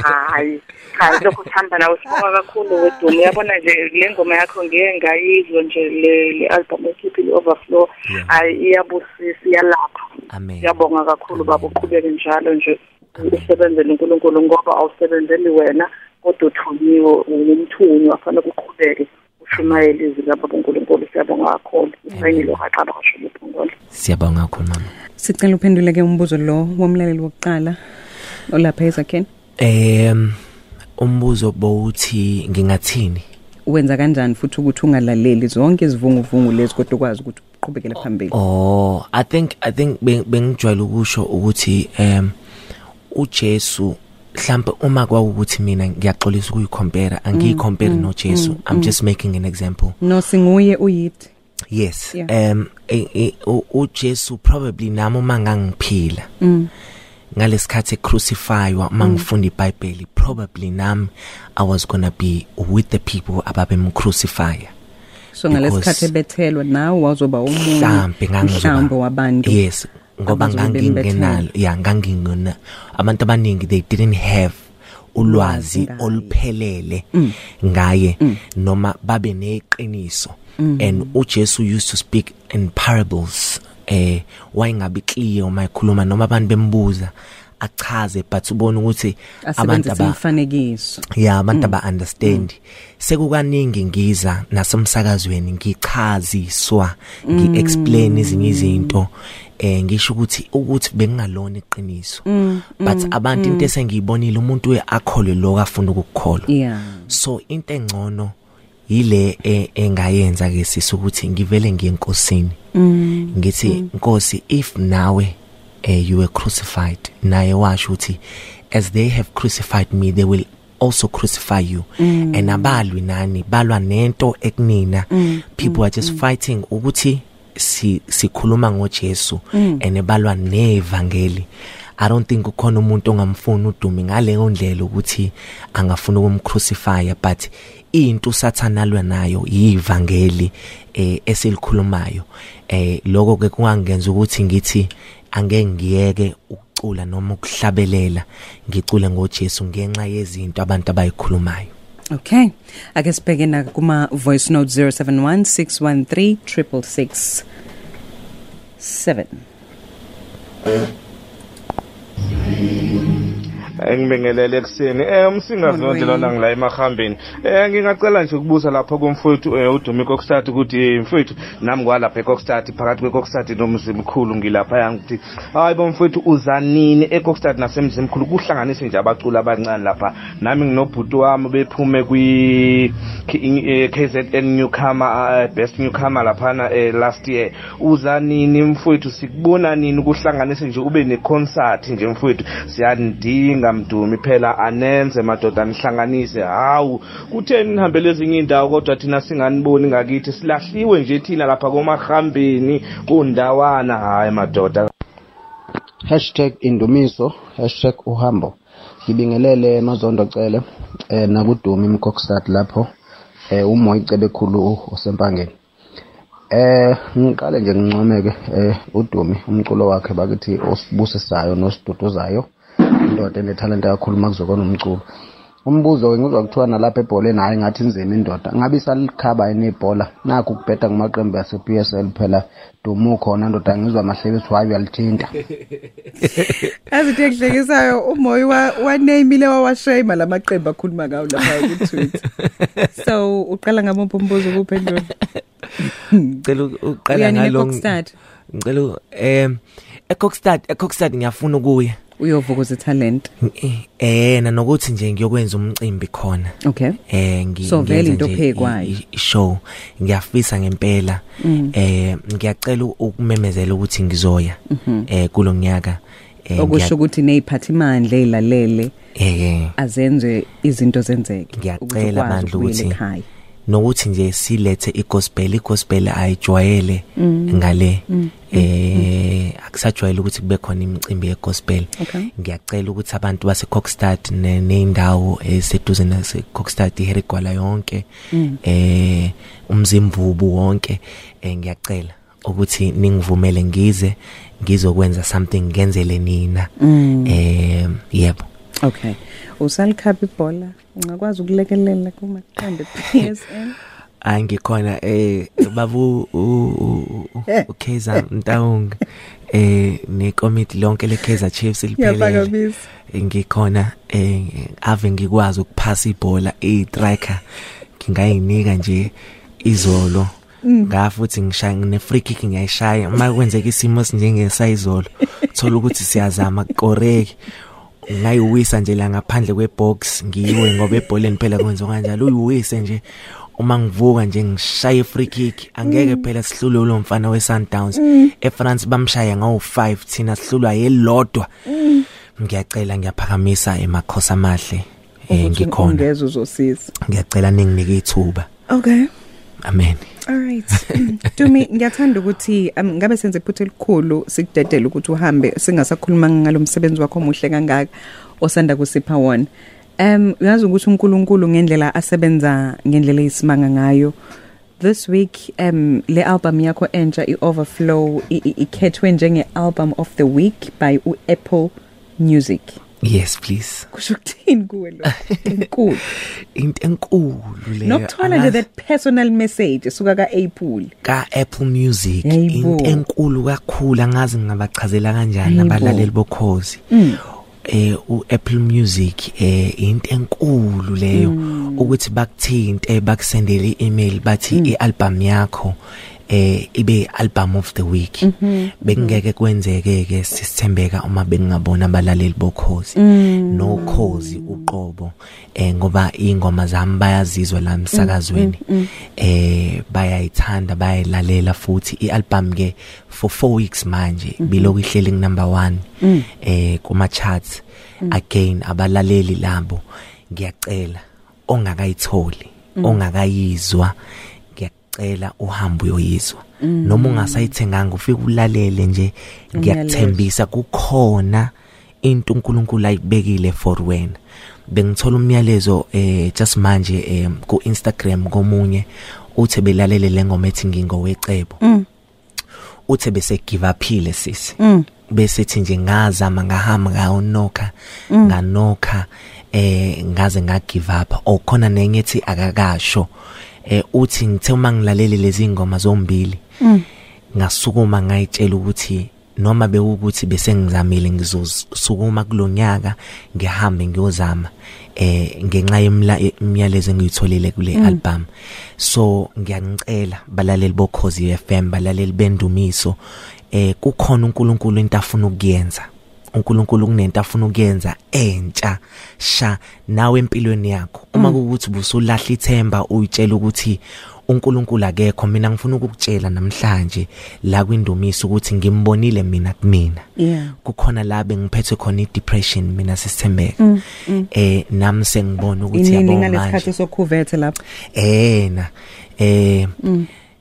Speaker 6: Hayi, hayi lokho kuhamba nawe sibonga kakhulu wedumo. Uyabona nje le ngoma yakho ngeke ngayizwa nje le le album ekhiphile overflow.
Speaker 4: Yeah.
Speaker 6: Hayi iyabusisa iyalapha.
Speaker 4: amen
Speaker 6: Siyabonga kakhulu baba uqhubeke njalo nje. usebenzele uNkulunkulu ngoba awusebenzeli wena kodwa uthunyiwe ungumthunywa fanele uqhubeke ushumayele izwi lababa uNkulunkulu siyabonga kakhulu isayilo kaxaba kashilo uNkulunkulu
Speaker 4: siyabonga kakhulu mama
Speaker 3: Sicela uphendule ke umbuzo lo womlaleli wokuqala olapha ezakheni
Speaker 4: um umbuzo bowuthi ngingathini
Speaker 3: wenza kanjani futhi ukuthi ungalaleli zonke izivunguvungu lezi kodwa ukwazi ukuthi uqhubekele phambili
Speaker 4: Oh, I think I think beng- bengijwayele ukusho ukuthi um uJesu mhlambe uma kwakukuthi mina ngiyaxolisa ukuyicompare angiyicompare noJesu I'm just making an example.
Speaker 3: no singuye uyithi
Speaker 4: Yes.
Speaker 3: Yeah.
Speaker 4: Um e- e- u- uJesu probably nami uma ngangiphila. ngalesikhathi crucifywa mangifunda iBhayibheli probably nami I was going to be with the people ababemcrucify.
Speaker 3: so ngalesikhathi
Speaker 4: Because-
Speaker 3: ebethelwa nawe wazoba omunye
Speaker 4: mhlambe ngangizoba-
Speaker 3: mhlambe wabantu
Speaker 4: yes ngoba
Speaker 3: abazobe
Speaker 4: ngangingenalo ya ngangingena abantu abaningi they didn't have ulwazi
Speaker 3: Ulwazi ngaye. Mm.
Speaker 4: oluphelele ngaye noma babe neqiniso
Speaker 3: Mm-hmm.
Speaker 4: and uJesu used to speak in parables eh wayengabe clear uma ekhuluma noma abantu bembuza achaze but ubona ukuthi abantu
Speaker 3: asebenzisa
Speaker 4: aba
Speaker 3: imifanekiso
Speaker 4: ya abantu aba understand sekukaningi ngiza nasemsakazweni ngichaziswa ngi explain izinyo izinto eh ngisho ukuthi ukuthi bengingalona iqiniso but abantu into esengiyibonile umuntu we akhole lo afuna ukukholwa
Speaker 3: yeah
Speaker 4: so into engcono yile e- engayenza ke sisi ukuthi ngivele ngiyenkosini ngithi nkosi if nawe eh, you were crucified naye washo ukuthi as they have crucified me they will also crucify you and abalwi nani balwa nento ekunina people are just fighting ukuthi si sikhuluma ngoJesu and ebalwa nevangeli I don't think ukhona umuntu ongamfuni uDumi ngaleyo ndlela ukuthi angafuna ukumcrucify but into usathana lwa nayo yivangeli eh esilikhulumayo eh lokho ke kungangenza ukuthi ngithi angeke ngiyeke ukucula noma ukuhlabelela ngicule ngoJesu ngenxa yezinto abantu abayikhulumayo
Speaker 3: okay ake sibheke na kuma voice note 0716136667
Speaker 7: engibingelele ekuseni um
Speaker 3: Molweni.
Speaker 7: msingazinonje lona ngila emahambeni um ngingacela nje ukubuza lapho kumfowethu um udumi kokstad ukuthi um mfowethu nami kwalapha ekokstad phakathi kwekokstad nomzimkhulu ngilaphaya ngithi hayi bo mfowethu uza nini ekokstad nasemzimkhulu kuhlanganise nje abaculi abancane lapha nami nginobhuti wami bephume kwi-k z n newcomer uh, best newcomer laphana um last year uza nini mfowethu sikubona nini ukuhlanganise nje ube ne-concert nje mfowethu siyanidinga mdumi phela anenze madoda nihlanganise hawu kutheni nihambele ezinye iy'ndawo kodwa thina singaniboni ngakithi silahliwe nje thina lapha komahambeni kundawana hhayi madoda
Speaker 8: hashtag indumiso hashtag uhambo ngibingelele mazondo cele eh nakudumi imkokstad lapho eh umoya icebekhulu osempangeni eh ngiqale nje ngincomeke eh udumi umculo wakhe bakithi osibusisayo nosiduduzayo indoda enetalente kakhulu makuzokona umculo umbuzo ke ngizwa kuthiwa nalapha ebholeni hhayi ngathi nzima indoda ngabe isalikhaba yini ibhola nakho ukubheda kumaqembu yase-p s l phela dumu ukhona ndoda ngizwa mahlekithi wayo uyalithinta
Speaker 3: azithi engihlekisayo umoya wa- wanemile wawashayima la maqembu akhuluma ngawo lapha kutwitter so uqala ngamuphi umbuzo ukuphendula
Speaker 4: ngicela u- uqala
Speaker 3: Uyani
Speaker 4: ngalo
Speaker 3: neKokstad?
Speaker 4: ngicela u- em eCockstad eCockstad ngiyafuna ukuya
Speaker 3: uyovukuza italent
Speaker 4: eh na nokuthi nje ngiyokwenza umcimbi khona
Speaker 3: okay
Speaker 4: eh ngi-
Speaker 3: So vele
Speaker 4: ngenze
Speaker 3: into
Speaker 4: nje
Speaker 3: ophekwayo.
Speaker 4: i- i- show ngiyafisa ngempela
Speaker 3: Mm.
Speaker 4: eh ngiyacela ukumemezela ukuthi ngizoya eh kulo nyaka eh
Speaker 3: Mm-hmm. okusho
Speaker 4: ngiya-
Speaker 3: ukuthi neyiphathimandla eyilalele
Speaker 4: eh eh,
Speaker 3: azenze izinto zenzeke ukuze
Speaker 4: ngiyacela
Speaker 3: ukwazi
Speaker 4: bandla
Speaker 3: ukubuyela
Speaker 4: ukuthi
Speaker 3: ekhaya
Speaker 4: nokuthi nje silethe igospel igospel ayijwayele
Speaker 3: Mm.
Speaker 4: ngale eh akusajwayele ukuthi kube khona imicimbi yegospel
Speaker 3: Okay.
Speaker 4: ngiyacela ukuthi abantu base Kokstad neindawo eseduze nase Kokstad iHerigwala yonke
Speaker 3: Mm.
Speaker 4: eh umzimvubu wonke eh ngiyacela ukuthi ningivumele ngize ngizokwenza something ngenzele nina
Speaker 3: Mm.
Speaker 4: eh yebo
Speaker 3: okay usalikhapha ibhola ungakwazi ukulekelela kumaqembu PSL
Speaker 4: hayi ngikhona eh babu u- u- u- u- uKaizer Ntawung eh nekomiti lonke leKaizer Chiefs liphelele
Speaker 3: Ngiyaphakamisa.
Speaker 4: ngikhona eh ave ngikwazi ukuphasa ibhola e-striker ngingayinika nje izolo nga futhi ngishaya ne free kick ngiyayishaya uma kwenzeka isimo sinjengesayizolo thola ukuthi siyazama koreki ngayiwisa nje la ngaphandle kwebox ngiyiwe ngoba ebholeni phela kwenziwa kanjalo uyiwise nje uma ngivuka nje ngishaya i-free kick angeke phela sihlulwe ulo mfana we-sundowns efrance bamshaya ngawu-5 thina sihlulwa yelodwa ngiyacela ngiyaphakamisa emakhosi amahle um ngikhona
Speaker 3: ngezwe uzosiza
Speaker 4: ngiyacela ninginike ithuba
Speaker 3: okay
Speaker 4: amen
Speaker 3: Alright. Dumi ngiyathanda ukuthi um, ngabe senze iphutha elikhulu sikudedele ukuthi uhambe singasakhuluma ngalomsebenzi wakho omuhle kangaka osanda kusipha wona. Um uyazi ukuthi uNkulunkulu ngendlela asebenza ngendlela eyisimanga ngayo. This week um le album yakho entsha iOverflow i- i- ikhethwe njenge album of the week by uApple Music.
Speaker 4: yes please
Speaker 3: Kusho ukuthini kuwe lo? Inkulu.
Speaker 4: into enkulu leyo
Speaker 3: Nokuthola nje
Speaker 4: angazi-
Speaker 3: that personal message esuka kaApple.
Speaker 4: ka Apple Music
Speaker 3: Yebo.
Speaker 4: into enkulu kakhulu angazi ngingabachazela kanjani
Speaker 3: Yebo. Mm.
Speaker 4: abalaleli bokhozi eh uApple Music eh into enkulu leyo
Speaker 3: Mm.
Speaker 4: ukuthi bakuthinte bakusendele i-email bathi i-album yakho eh ibe album of the week
Speaker 3: Mm-hmm.
Speaker 4: bekungeke kwenzeke ke sisithembeka uma bengingabona abalaleli bokhozi
Speaker 3: Mm.
Speaker 4: nokhozi uqobo eh ngoba ingoma zami bayazizwa la msakazweni eh bayayithanda bayilalela futhi ialbum ke for 4 weeks manje biloku ihleli number 1 eh kuma charts again abalaleli labo ngiyacela ongakayitholi ongakayizwa ngiyacela uhambe uyoyizwa noma ungasayithenganga ufike ulalele nje ngiyakuthembisa kukhona into uNkulunkulu ayibekile for wena bengithola umyalezo eh just manje eh ku Instagram komunye uthe belalele lengoma ethi ngingowecebo uthe bese give upile sisi bese thi nje ngazama ngahamba ngawunoka nganokha eh ngaze nga give up okhona nenye ethi akakasho eh uthi ngithe uma ngilalele lezi ngoma zombili ngasukuma ngayitshela ukuthi noma bekukuthi bese ngizamile ngizosukuma kulonyaka ngihambe ngiyozama eh ngenxa yemla- yemiyalezo engiyitholile kule album so ngiyancela balaleli bokhozi FM balaleli bendumiso eh kukhona uNkulunkulu into afuna ukuyenza uNkulunkulu kunento afuna ukuyenza entsha sha nawe empilweni yakho uma
Speaker 3: Mm.
Speaker 4: kuwukuthi busulahla ithemba uyitshela ukuthi uNkulunkulu akekho mina ngifuna ukukutshela namhlanje la kwindumiso ukuthi ngimbonile mina kumina
Speaker 3: Yeah.
Speaker 4: kukhona la bengiphethwe khona i-depression mina sisithembeka eh nami sengibona ukuthi
Speaker 3: Mm, Inini
Speaker 4: yabo
Speaker 3: ngalesikhathi
Speaker 4: manje
Speaker 3: sokhuvethe lapha.
Speaker 4: ehna eh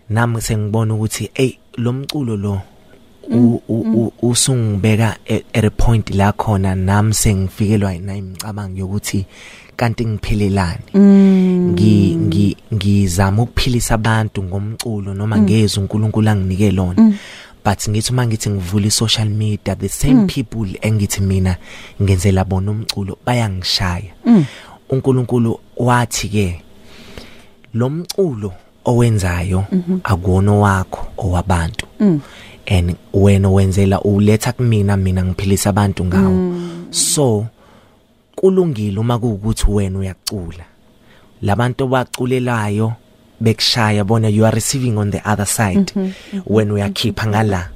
Speaker 4: nami sengibona ukuthi hey lo mculo lo u- u- u- usungibeka e- at a point la khona nami sengifikelwa ina imicabango yokuthi kanti ngiphelelani ngi ngi ngizama ukuphilisa abantu ngomculo noma ngezwe uNkulunkulu anginike lona but ngithi uma ngithi ngivula i-social media the same people engithi mina ngenzela bona umculo bayangishaya uNkulunkulu wathi ke lo mculo owenzayo akuwona wakho owabantu and wena wenzela uletha kumina mina ngiphilisa abantu ngawo so kulungile uma kuwukuthi wena uyacula labantu baculelayo bekushaya bona you are receiving on the other side wena uyakhipha ngala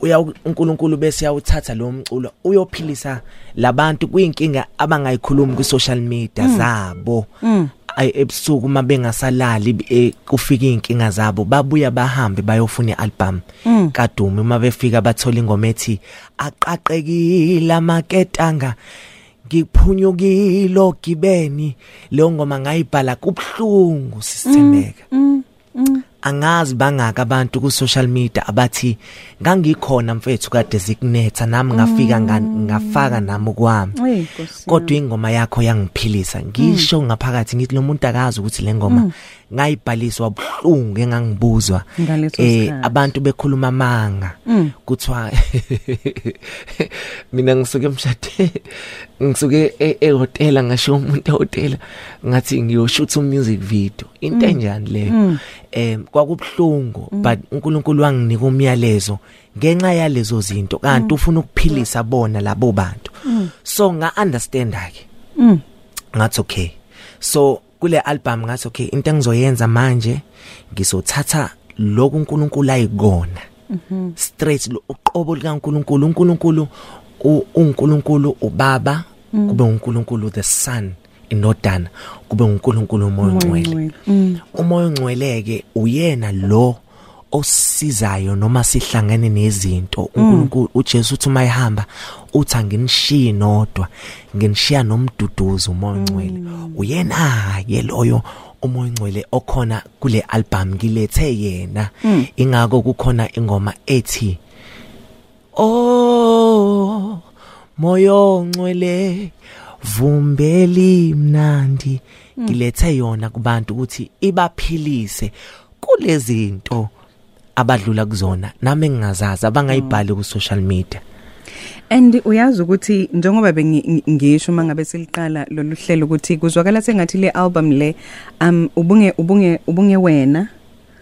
Speaker 4: uya uNkulunkulu bese yawuthatha lo mculo uyophilisa labantu kuyinkinga abangayikhulumi ku social media zabo ay ebusuku uma bengasalali eh, kufika inkinga zabo babuya bahambe bayofuna ialbum kaDumi uma befika bathola ingoma ethi aqaqekile amaketanga ngiphunyukile ogibeni leyo ngoma ngayibhala kubhlungu sisithembeka
Speaker 3: Mm,
Speaker 4: angazi bangaka abantu ku social media abathi ngangikhona mfethu kade zikunetha nami ngafika nga- ngafaka nami kwami
Speaker 3: Mm. Eyi, Nkosi yami. Mm.
Speaker 4: kodwa ingoma yakho yangiphilisa ngisho ngaphakathi ngithi lo muntu akazi ukuthi le ngoma ngayibhaliswa buhlungu engangibuzwa
Speaker 3: Ngaleso sikhathi.
Speaker 4: Eh,
Speaker 3: Mm.
Speaker 4: abantu bekhuluma amanga kuthiwa mina ngisuke emshade ngisuke e- ehhotela ngasho umuntu ehhotela ngathi ngiyoshutha umusic video into
Speaker 3: Mm.
Speaker 4: enjani leyo um kwakubuhlungu but unkulunkulu wanginika umyalezo ngenxa yalezo zinto
Speaker 3: Mm.
Speaker 4: kanti ufuna ukuphilisa bona labo bantu so nga-understanda-ke ngathi okay so kule album ngathi okay into engizoyenza manje ngizothatha lokhu uNkulunkulu ayikona straight lo uqobo likaNkulunkulu uNkulunkulu u- uNkulunkulu ubaba kube uNkulunkulu the son indodana kube uNkulunkulu uMoya Ngcwele uMoya Ngcwele ke uyena lo osizayo noma sihlangene nezinto uNkulunkulu uJesu uthi mayihamba uthi anginishiyi nodwa nginishiya nomduduzo uMoya Ngcwele uyena ke loyo uMoya Ngcwele okhona kule album ngilethe yena ingako kukhona ingoma ethi Oh moyo ongcwele vumbeli mnandi
Speaker 3: Hmm.
Speaker 4: ngilethe yona kubantu ukuthi ibaphilise kulezinto abadlula kuzona nami engingazazi
Speaker 3: Hmm.
Speaker 4: abangayibhali ku social media
Speaker 3: and uyazi ukuthi njengoba bengi- ngi- ngisho mangabe siliqala lolu hlelo ukuthi kuzwakala sengathi le album le um ubunge ubunge ubunge wena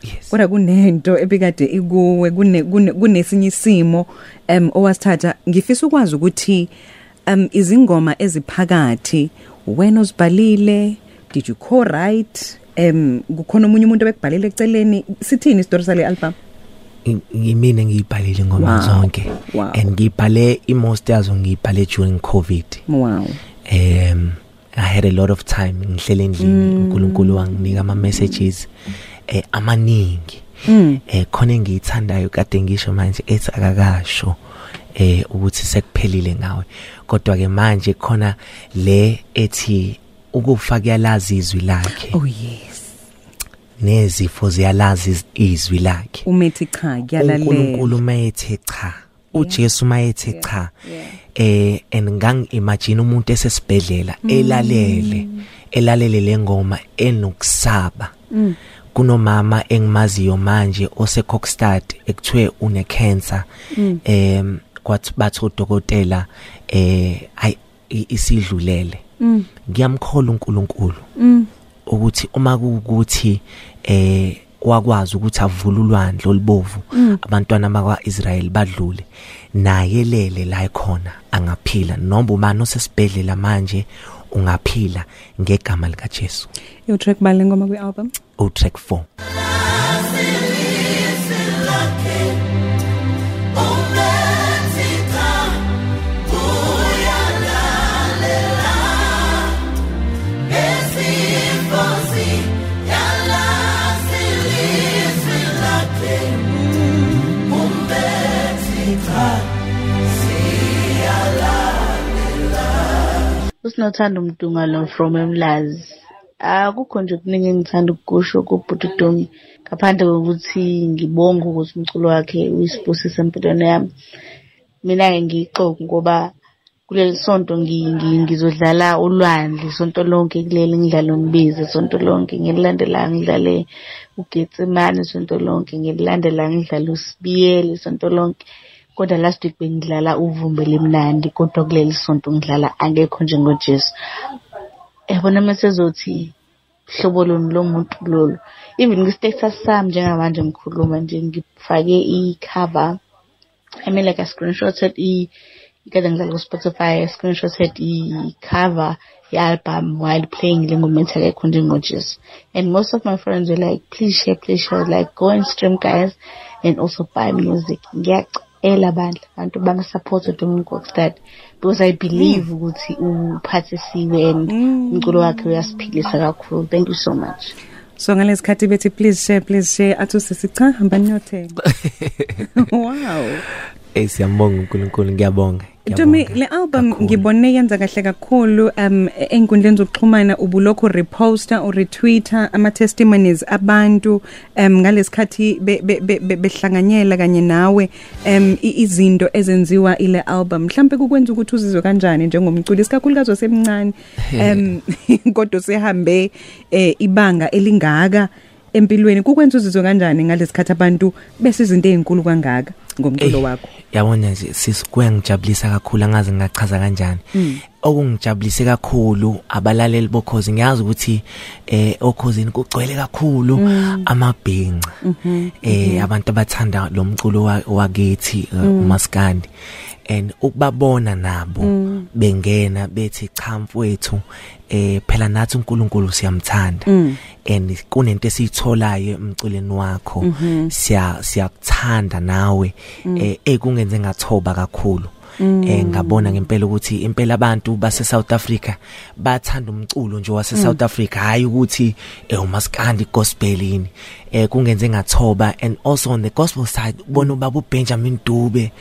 Speaker 4: yes
Speaker 3: kodwa kunento ebikade ikuwe kune- kune- kunesinye isimo um owasithatha ngifisa ukwazi ukuthi um izingoma eziphakathi wena ozibhalile did you co right um kukhona omunye umuntu obekubhalele eceleni sithini isitori sale album
Speaker 4: ngimine ngiyibhalile ngoma
Speaker 3: Wow.
Speaker 4: zonke
Speaker 3: Wow.
Speaker 4: and ngiyibhale i-most yazo ngiyibhale during covid
Speaker 3: wow
Speaker 4: um i had a lot of time ngihlele endlini unkulunkulu wanginika ama-messages um amaningi um khona engiyithandayo kade ngisho manje ethi akakasho um ukuthi sekuphelile ngawe kodwa-ke manje khona le ethi ukufa kuyalazi izwi lakhe
Speaker 3: oh yes
Speaker 4: nezifo ziyalazi iz- izwi lakhe
Speaker 3: umethi cha kuyalalela
Speaker 4: uNkulunkulu mayethe cha uJesu mayethe cha eh and ngang imagine umuntu esesibhedlela elalele elalele lengoma enokusaba kunomama engimaziyo manje ose Kokstad ekuthiwe une cancer em kwathi batho dokotela eh ay i- isidlulele ngiyamkhola uNkulunkulu ukuthi uma kuwukuthi eh wakwazi ukuthi avule ulwandle olibovu abantwana bakwa-israyeli badlule naye lele la ekhona angaphila noma ubani osesibhedlela manje ungaphila ngegama likajesu
Speaker 3: utrack bale ngoma kwi-album
Speaker 4: otrack 4
Speaker 9: usinothanda umdunga lo from emlazi akukho nje okuningi engithanda ukukusho kubhuti uDumi ngaphandle kokuthi ngibonge ukuthi umculo wakhe uyisibusisa empilweni yami mina-ke ngiyixoki ngoba kuleli sonto ngi- ngi- ngizodlala ulwandle sonto lonke kuleli ngidlale umbizi sonto lonke ngelilandelayo ngidlale ugetsemane sonto lonke ngelilandelayo ngidlale usibiyele sonto lonke kodwa last week bengidlala uvumbe limnandi kodwa kuleli sonto ngidlala angekho njengojesu yabona masezothi hlobo loni lomuntu lolu even kwi-status sami njengamanje ngikhuluma nje ngifake i-cover I mean, like I screenshotted i ikade ngidlala ku-spotify I screenshotted i-cover ye-album while playing le ngoma ethi akekho njengojesu and most of my friends were like please share please share like go and stream guys and also buy music ngiyacela bandla abantu bangasaphothe udomin kokstad because i believe ukuthi uphathisiwe and umculo wakhe uyasiphilisa kakhulu thank you so much
Speaker 3: so ngalesikhathi bethi please share please share athi usisi cha hamba niyothenga wow
Speaker 4: Eh siyambonga uNkulunkulu ngiyabonga.
Speaker 3: Dumi
Speaker 4: ngiyabonga
Speaker 3: le album
Speaker 4: kakhulu.
Speaker 3: ngibone yenza kahle kakhulu um enkundleni zokuxhumana ubulokho reposter or retweeter ama testimonies abantu um ngalesikhathi be- be- be- be- behlanganyela kanye nawe um i- izinto ezenziwa ile album mhlambe kukwenza ukuthi uzizwe kanjani njengomculi isikakhulukazi osemncane um kodwa usehambe eh, ibanga elingaka empilweni kukwenza uzizwe kanjani ngalesikhathi abantu bese izinto ezinkulu kangaka ngomculo
Speaker 4: Eh,
Speaker 3: wakho
Speaker 4: yabona nje sisikuyangijabulisa kakhulu angazi ngingachaza kanjani
Speaker 3: Mm.
Speaker 4: okungijabulise kakhulu abalaleli bokhozi ngiyazi ukuthi eh okhozini kugcwele kakhulu
Speaker 3: Mm.
Speaker 4: amabhinca
Speaker 3: Mhm,
Speaker 4: eh abantu abathanda lo mculo wa- wakithi eh,
Speaker 3: Mm.
Speaker 4: umaskandi and ukubabona nabo bengena bethi cha mfowethu eh phela nathi uNkulunkulu siyamthanda and kunento esiyitholayo emculweni wakho siya siyakuthanda nawe eh ekungenze ngathoba kakhulu eh ngabona ngempela ukuthi impela abantu base South Africa bathanda umculo nje wase South Africa hayi ukuthi eh umaskandi gospel yini eh kungenze ngathoba and also on the gospel side ubona ubaba uBenjamin Dube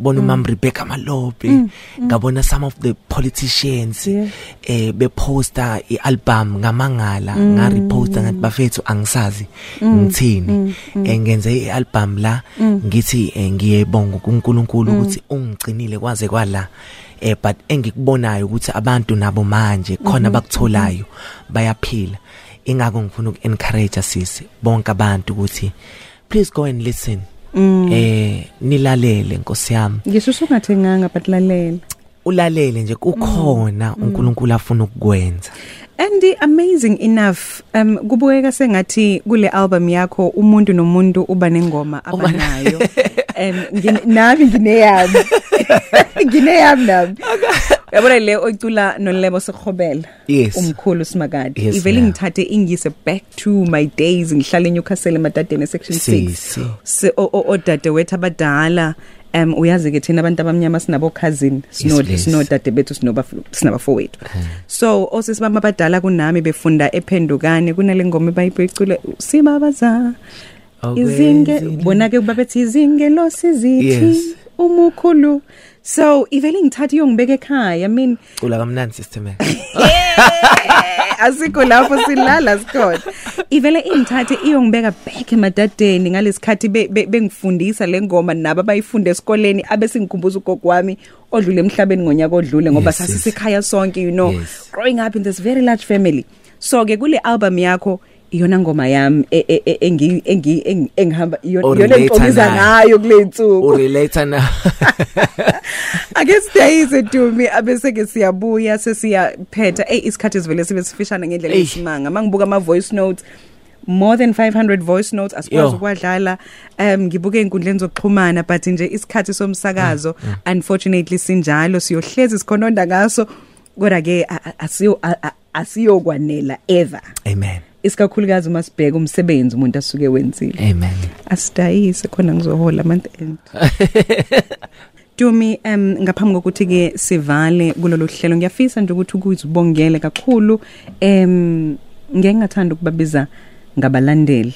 Speaker 4: ubona umam Rebecca Malope ngabona some of the politicians eh beposta ialbum ngamangala nga reposta ngathi bafethu angisazi ngithini Eh, ngenze ialbum la ngithi eh, ngiyebonga kuNkulunkulu ukuthi ungigcinile kwaze kwala eh but engikubonayo ukuthi abantu nabo manje khona bakutholayo bayaphila ingakho ngifuna ukencourage sisi bonke abantu ukuthi please go and listen eh nilalele nkosi yami
Speaker 3: ngisho usungathenganga but lalela
Speaker 4: ulalele nje kukhona uNkulunkulu afuna ukukwenza
Speaker 3: and amazing enough um kubukeka sengathi kule album yakho umuntu nomuntu uba nengoma abanayo um ngine- nami ngineyami ngineyami nami yabona le oyicula nolebo sekhobela
Speaker 4: Yes.
Speaker 3: umkhulu simakade
Speaker 4: Yes,
Speaker 3: ivele
Speaker 4: ma'am.
Speaker 3: ngithathe ingise back to my days ngihlale eNewcastle emadadeni section
Speaker 4: Sisi.
Speaker 3: 6 Si- o- o- odade wethu abadala um uyazi ke thina abantu abamnyama sinabo cousins sino
Speaker 4: please. Eh.
Speaker 3: sino dade bethu sinoba sinabafowethu so osisi bami abadala kunami befunda ephendukane kunale ngoma bayibecule sibabaza izinge
Speaker 4: Okwenzi-
Speaker 3: bona ke babethi izinge losizithi
Speaker 4: Yes.
Speaker 3: umukhulu so ivele ngithathe iyongibeka ekhaya i mean
Speaker 4: cula kamnandi sister Mac
Speaker 3: asikho lapho silala sikhona ivele ingithathe iyongibeka back emadadeni ngalesikhathi be- be- bengifundisa le ngoma nabo abayifunde esikoleni abesingikhumbuza ugogo wami odlule emhlabeni ngonyaka odlule ngoba
Speaker 4: Yes,
Speaker 3: sasisekhaya sonke you know
Speaker 4: Yes.
Speaker 3: growing up in this very large family so ke kule album yakho iyona ngoma yami e- e- e- engi- engi- eng- engihamba iyo- iyona
Speaker 4: Orelate-a
Speaker 3: engixokiza
Speaker 4: nayo.
Speaker 3: ngayo kule nsuku
Speaker 4: urelate na
Speaker 3: ake sidayize dumi abese ke siyabuya sesiyaphetha eyi isikhathi sivele sibe sifishane ngendlela
Speaker 4: Eyi.
Speaker 3: esimanga uma ngibuka ama-voice notes more than 500 voice notes asikwazi
Speaker 4: Yo.
Speaker 3: ukwadlala um ngibuke ey'nkundleni zokuxhumana but nje isikhathi somsakazo
Speaker 4: Mm,
Speaker 3: unfortunately sinjalo siyohlezi sikhononda ngaso kodwa-ke a- a- asiyo- a- a- asiyokwanela ever
Speaker 4: amen
Speaker 3: isikakhulukazi uma sibheka umsebenzi umuntu asuke wenzile
Speaker 4: amen
Speaker 3: asidayise khona ngizohola month end Dumi em ngaphambi kokuthi ke sivale kulolu hlelo ngiyafisa nje ukuthi ukuzibongele kakhulu em ngeke ngathanda ukubabiza ngabalandeli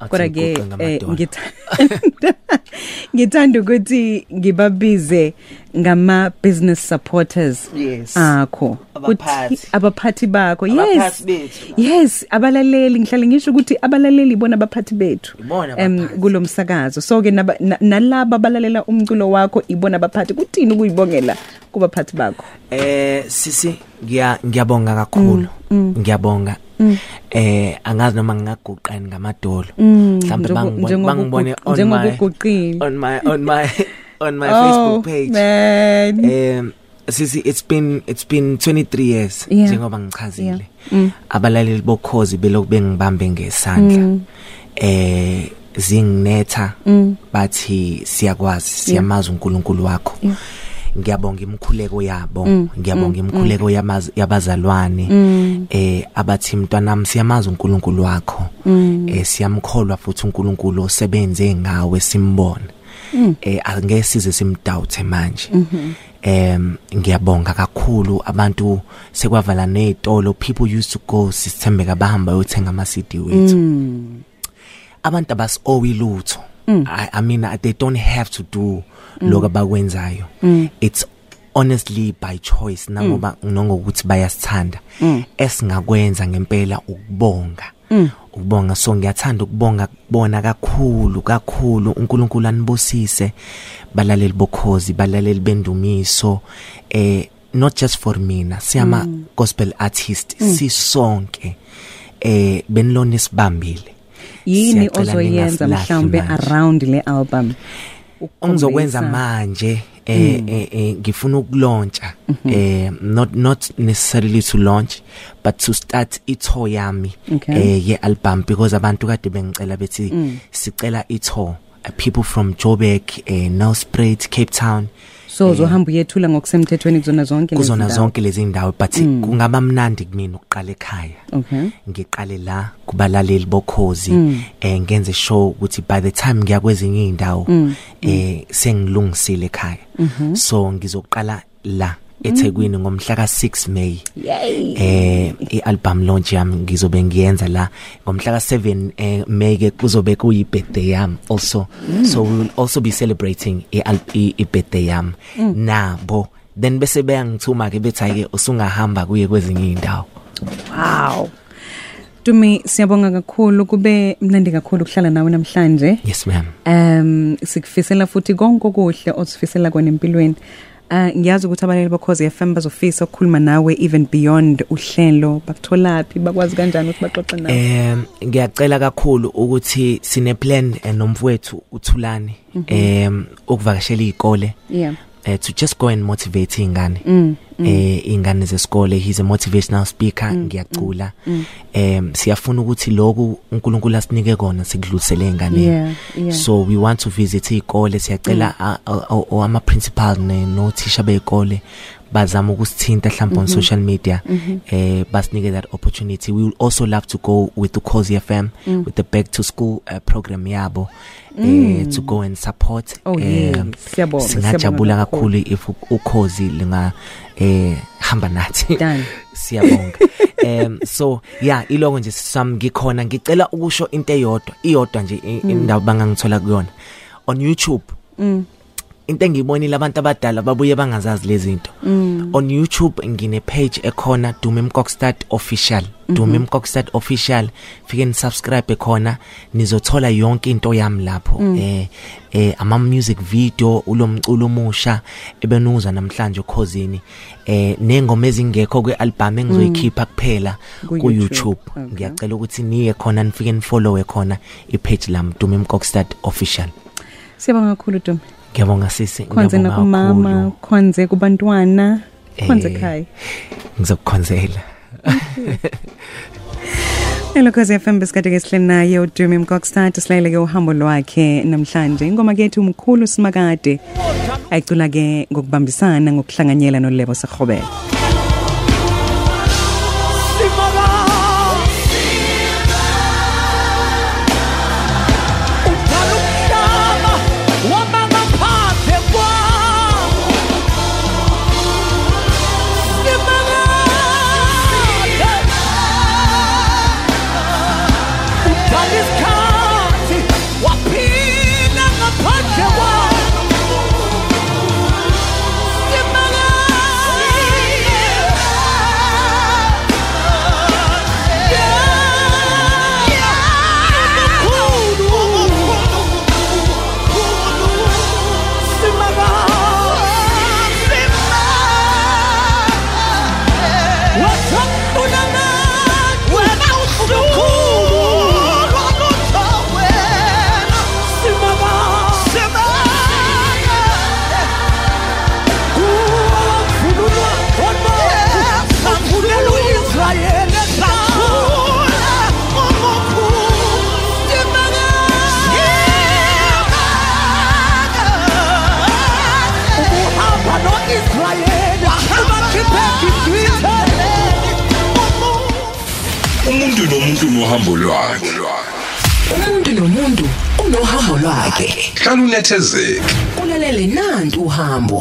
Speaker 4: Athi
Speaker 3: kodwa ke eh,
Speaker 4: ngiguqe ngamadolo.
Speaker 3: ngithanda ngithanda ukuthi ngibabize ngama business supporters
Speaker 10: Yes.
Speaker 3: akho Ukuthi-
Speaker 10: Abaphathi.
Speaker 3: abaphathi bakho yes
Speaker 10: Abaphathi bethu.
Speaker 3: yes abalaleli ngihlale ngisho ukuthi abalaleli ibona abaphathi bethu
Speaker 4: Ibona
Speaker 3: Em,
Speaker 4: abaphathi.
Speaker 3: kulomsakazo so ke naba- na- nalaba balalela umculo wakho ibona abaphathi kuthini ukuyibongela kubaphathi bakho
Speaker 4: Eh sisi ngiya ngiyabonga kakhulu.
Speaker 3: Mm,
Speaker 4: Ngiyabonga. Eh angazi noma ngingaguqani ngamadolo. Mhlambe
Speaker 3: Mm, njengo-
Speaker 4: bangibone bangibone
Speaker 3: njengokugu-
Speaker 4: on my
Speaker 3: njengokuguqile.
Speaker 4: on my on my on my
Speaker 3: Oh,
Speaker 4: Facebook page.
Speaker 3: man.
Speaker 4: Um sisi it's been it's been 23 years
Speaker 3: Yeah. Mm.
Speaker 4: njengoba ngichazile. Abalaleli bokhozi beloku bengibambe
Speaker 3: Mm.
Speaker 4: ngesandla. Eh zinginetha bathi siyakwazi siyamazi uNkulunkulu wakho. ngiyabonga imkhuleko yabo
Speaker 3: Mm.
Speaker 4: ngiyabonga imkhuleko yamaz- yabazalwane eh abathi mntwanami siyamazi uNkulunkulu wakho
Speaker 3: Mm.
Speaker 4: eh siyamkholwa futhi uNkulunkulu osebenze ngawe simbona eh angeke size simdoubt manje em ngiyabonga kakhulu abantu sekwavala nezitolo people used to go sithembeka bahamba yothenga ama CD wethu abantu abasi owilutho I, I mean uh, they don't have to do lokho abakwenzayo it's honestly by choice nangoba nongokuthi bayasithanda esingakwenza ngempela ukubonga ukubonga so ngiyathanda ukubonga kubona kakhulu kakhulu uNkulunkulu anibusise balaleli bokhozi balaleli bendumiso eh not just for mina siyama gospel artist sisonke eh benilona isibambile
Speaker 3: yini
Speaker 4: Siyacela
Speaker 3: ozoyenza
Speaker 4: ningasilahli
Speaker 3: mhlawumbe
Speaker 4: manje.
Speaker 3: around le album
Speaker 4: ongizokwenza manje
Speaker 3: Hmm.
Speaker 4: eh eh, eh ngifuna ukulontsha
Speaker 3: Mhm.
Speaker 4: eh not not necessarily to launch but to start itour yami
Speaker 3: Okay. Hmm.
Speaker 4: eh ye album because abantu kade bengicela bethi sicela itour uh, people from Joburg eh Nelspruit Cape Town
Speaker 3: so uzohamba uyethula ngokusemthethweni kuzona zonke lezi
Speaker 4: Eh. kuzona
Speaker 3: ndawo?
Speaker 4: zonke lezi ndawo but kungaba mnandi kumina ukuqala ekhaya
Speaker 3: okay
Speaker 4: ngiqale la kubalaleli bokhozi eh ngenze show ukuthi by the time ngiya kwezinye indawo eh sengilungisile ekhaya so ngizoqala la eThekwini ngomhla ka6 May eh ialbum launch yami ngizobe ngiyenza la ngomhla ka7 eh, May ke kuzobe kuyi birthday yami also so we will also be celebrating i- al- i i- birthday yami nabo then bese bayangithuma ke bethi ake usungahamba kuye kwezinye indawo
Speaker 3: wow Dumi siyabonga kakhulu kube mnandi kakhulu ukuhlala nawe namhlanje
Speaker 4: yes ma'am
Speaker 3: um sikufisela futhi konke okuhle osifisela kona empilweni Uh, ngiyazi ukuthi abalaleli bakhoze FM bazofisa ukukhuluma nawe even beyond uhlelo bakutholaphi bakwazi kanjani ukuthi baxoxe nawe
Speaker 4: Um ngiyacela kakhulu ukuthi sine plan eh, nomfowethu uThulani um ukuvakashela izikole
Speaker 3: yeah
Speaker 4: eh, to just go and motivate ingane eh ingane zesikole he's a motivational speaker ngiyacula um siyafuna ukuthi lokhu uNkulunkulu asinike kona sikudlulisele
Speaker 3: Yeah,
Speaker 4: ingane
Speaker 3: yeah.
Speaker 4: so we want to visit izikole siyacela a- a- a- o- ama principal ne no teacher beyikole bazama ukusithinta mhlawumbe on
Speaker 3: Mm-hmm.
Speaker 4: social media eh basinike that opportunity we would also love to go with Ukhozi FM
Speaker 3: Mm.
Speaker 4: with the back to school uh, program yabo eh to go and support
Speaker 3: Mm. Oh,
Speaker 4: eh,
Speaker 3: yes. Siyabonga,
Speaker 4: singajabula
Speaker 3: siyabonga kakhulu.
Speaker 4: kakhulu if u- ukhozi linga eh hamba nathi
Speaker 3: Done.
Speaker 4: siyabonga um so yeah iloko nje sami ngikhona ngicela ukusho into eyodwa iyodwa nje i- indaba bangangithola kuyona on YouTube into engiyibonile abantu abadala babuye bangazazi lezi zinto
Speaker 3: Mm.
Speaker 4: on YouTube ngine page ekhona Dume Mkokstad official
Speaker 3: Mhm.
Speaker 4: Dume Mkokstad official fike ni subscribe khona nizothola yonke into yami lapho
Speaker 3: Mm.
Speaker 4: eh eh ama music video ulomculo omusha ebenuza namhlanje ukhosini eh nengoma ezingekho kwealbum engizoyikhipha kuphela ku
Speaker 3: Mm. Ku-YouTube.
Speaker 4: YouTube
Speaker 3: Okay.
Speaker 4: ngiyacela ukuthi niye khona nifike nifollowe khona ipage lami Dume Mkokstad official
Speaker 3: siyabonga kakhulu Dumi
Speaker 4: ngiyabonga sisi
Speaker 3: khonze
Speaker 4: ngiyabonga kakhulu.
Speaker 3: nakumama khonze kubantwana khonze
Speaker 4: Eh.
Speaker 3: ekhaya
Speaker 4: ngizokukhonzela
Speaker 3: elokhozi fm besikade-ke sihleli naye udumi mkokstad silalele-ke uhambo lwakhe namhlanje ingoma kethu mkhulu simakade ayicula-ke ngokubambisana ngokuhlanganyela nolebo serhobela
Speaker 1: umuntu nomuntu nohambo lwakhe
Speaker 2: umuntu nomuntu unohambo lwakhe
Speaker 1: hlalunethezeke
Speaker 2: kulalele nantu uhambo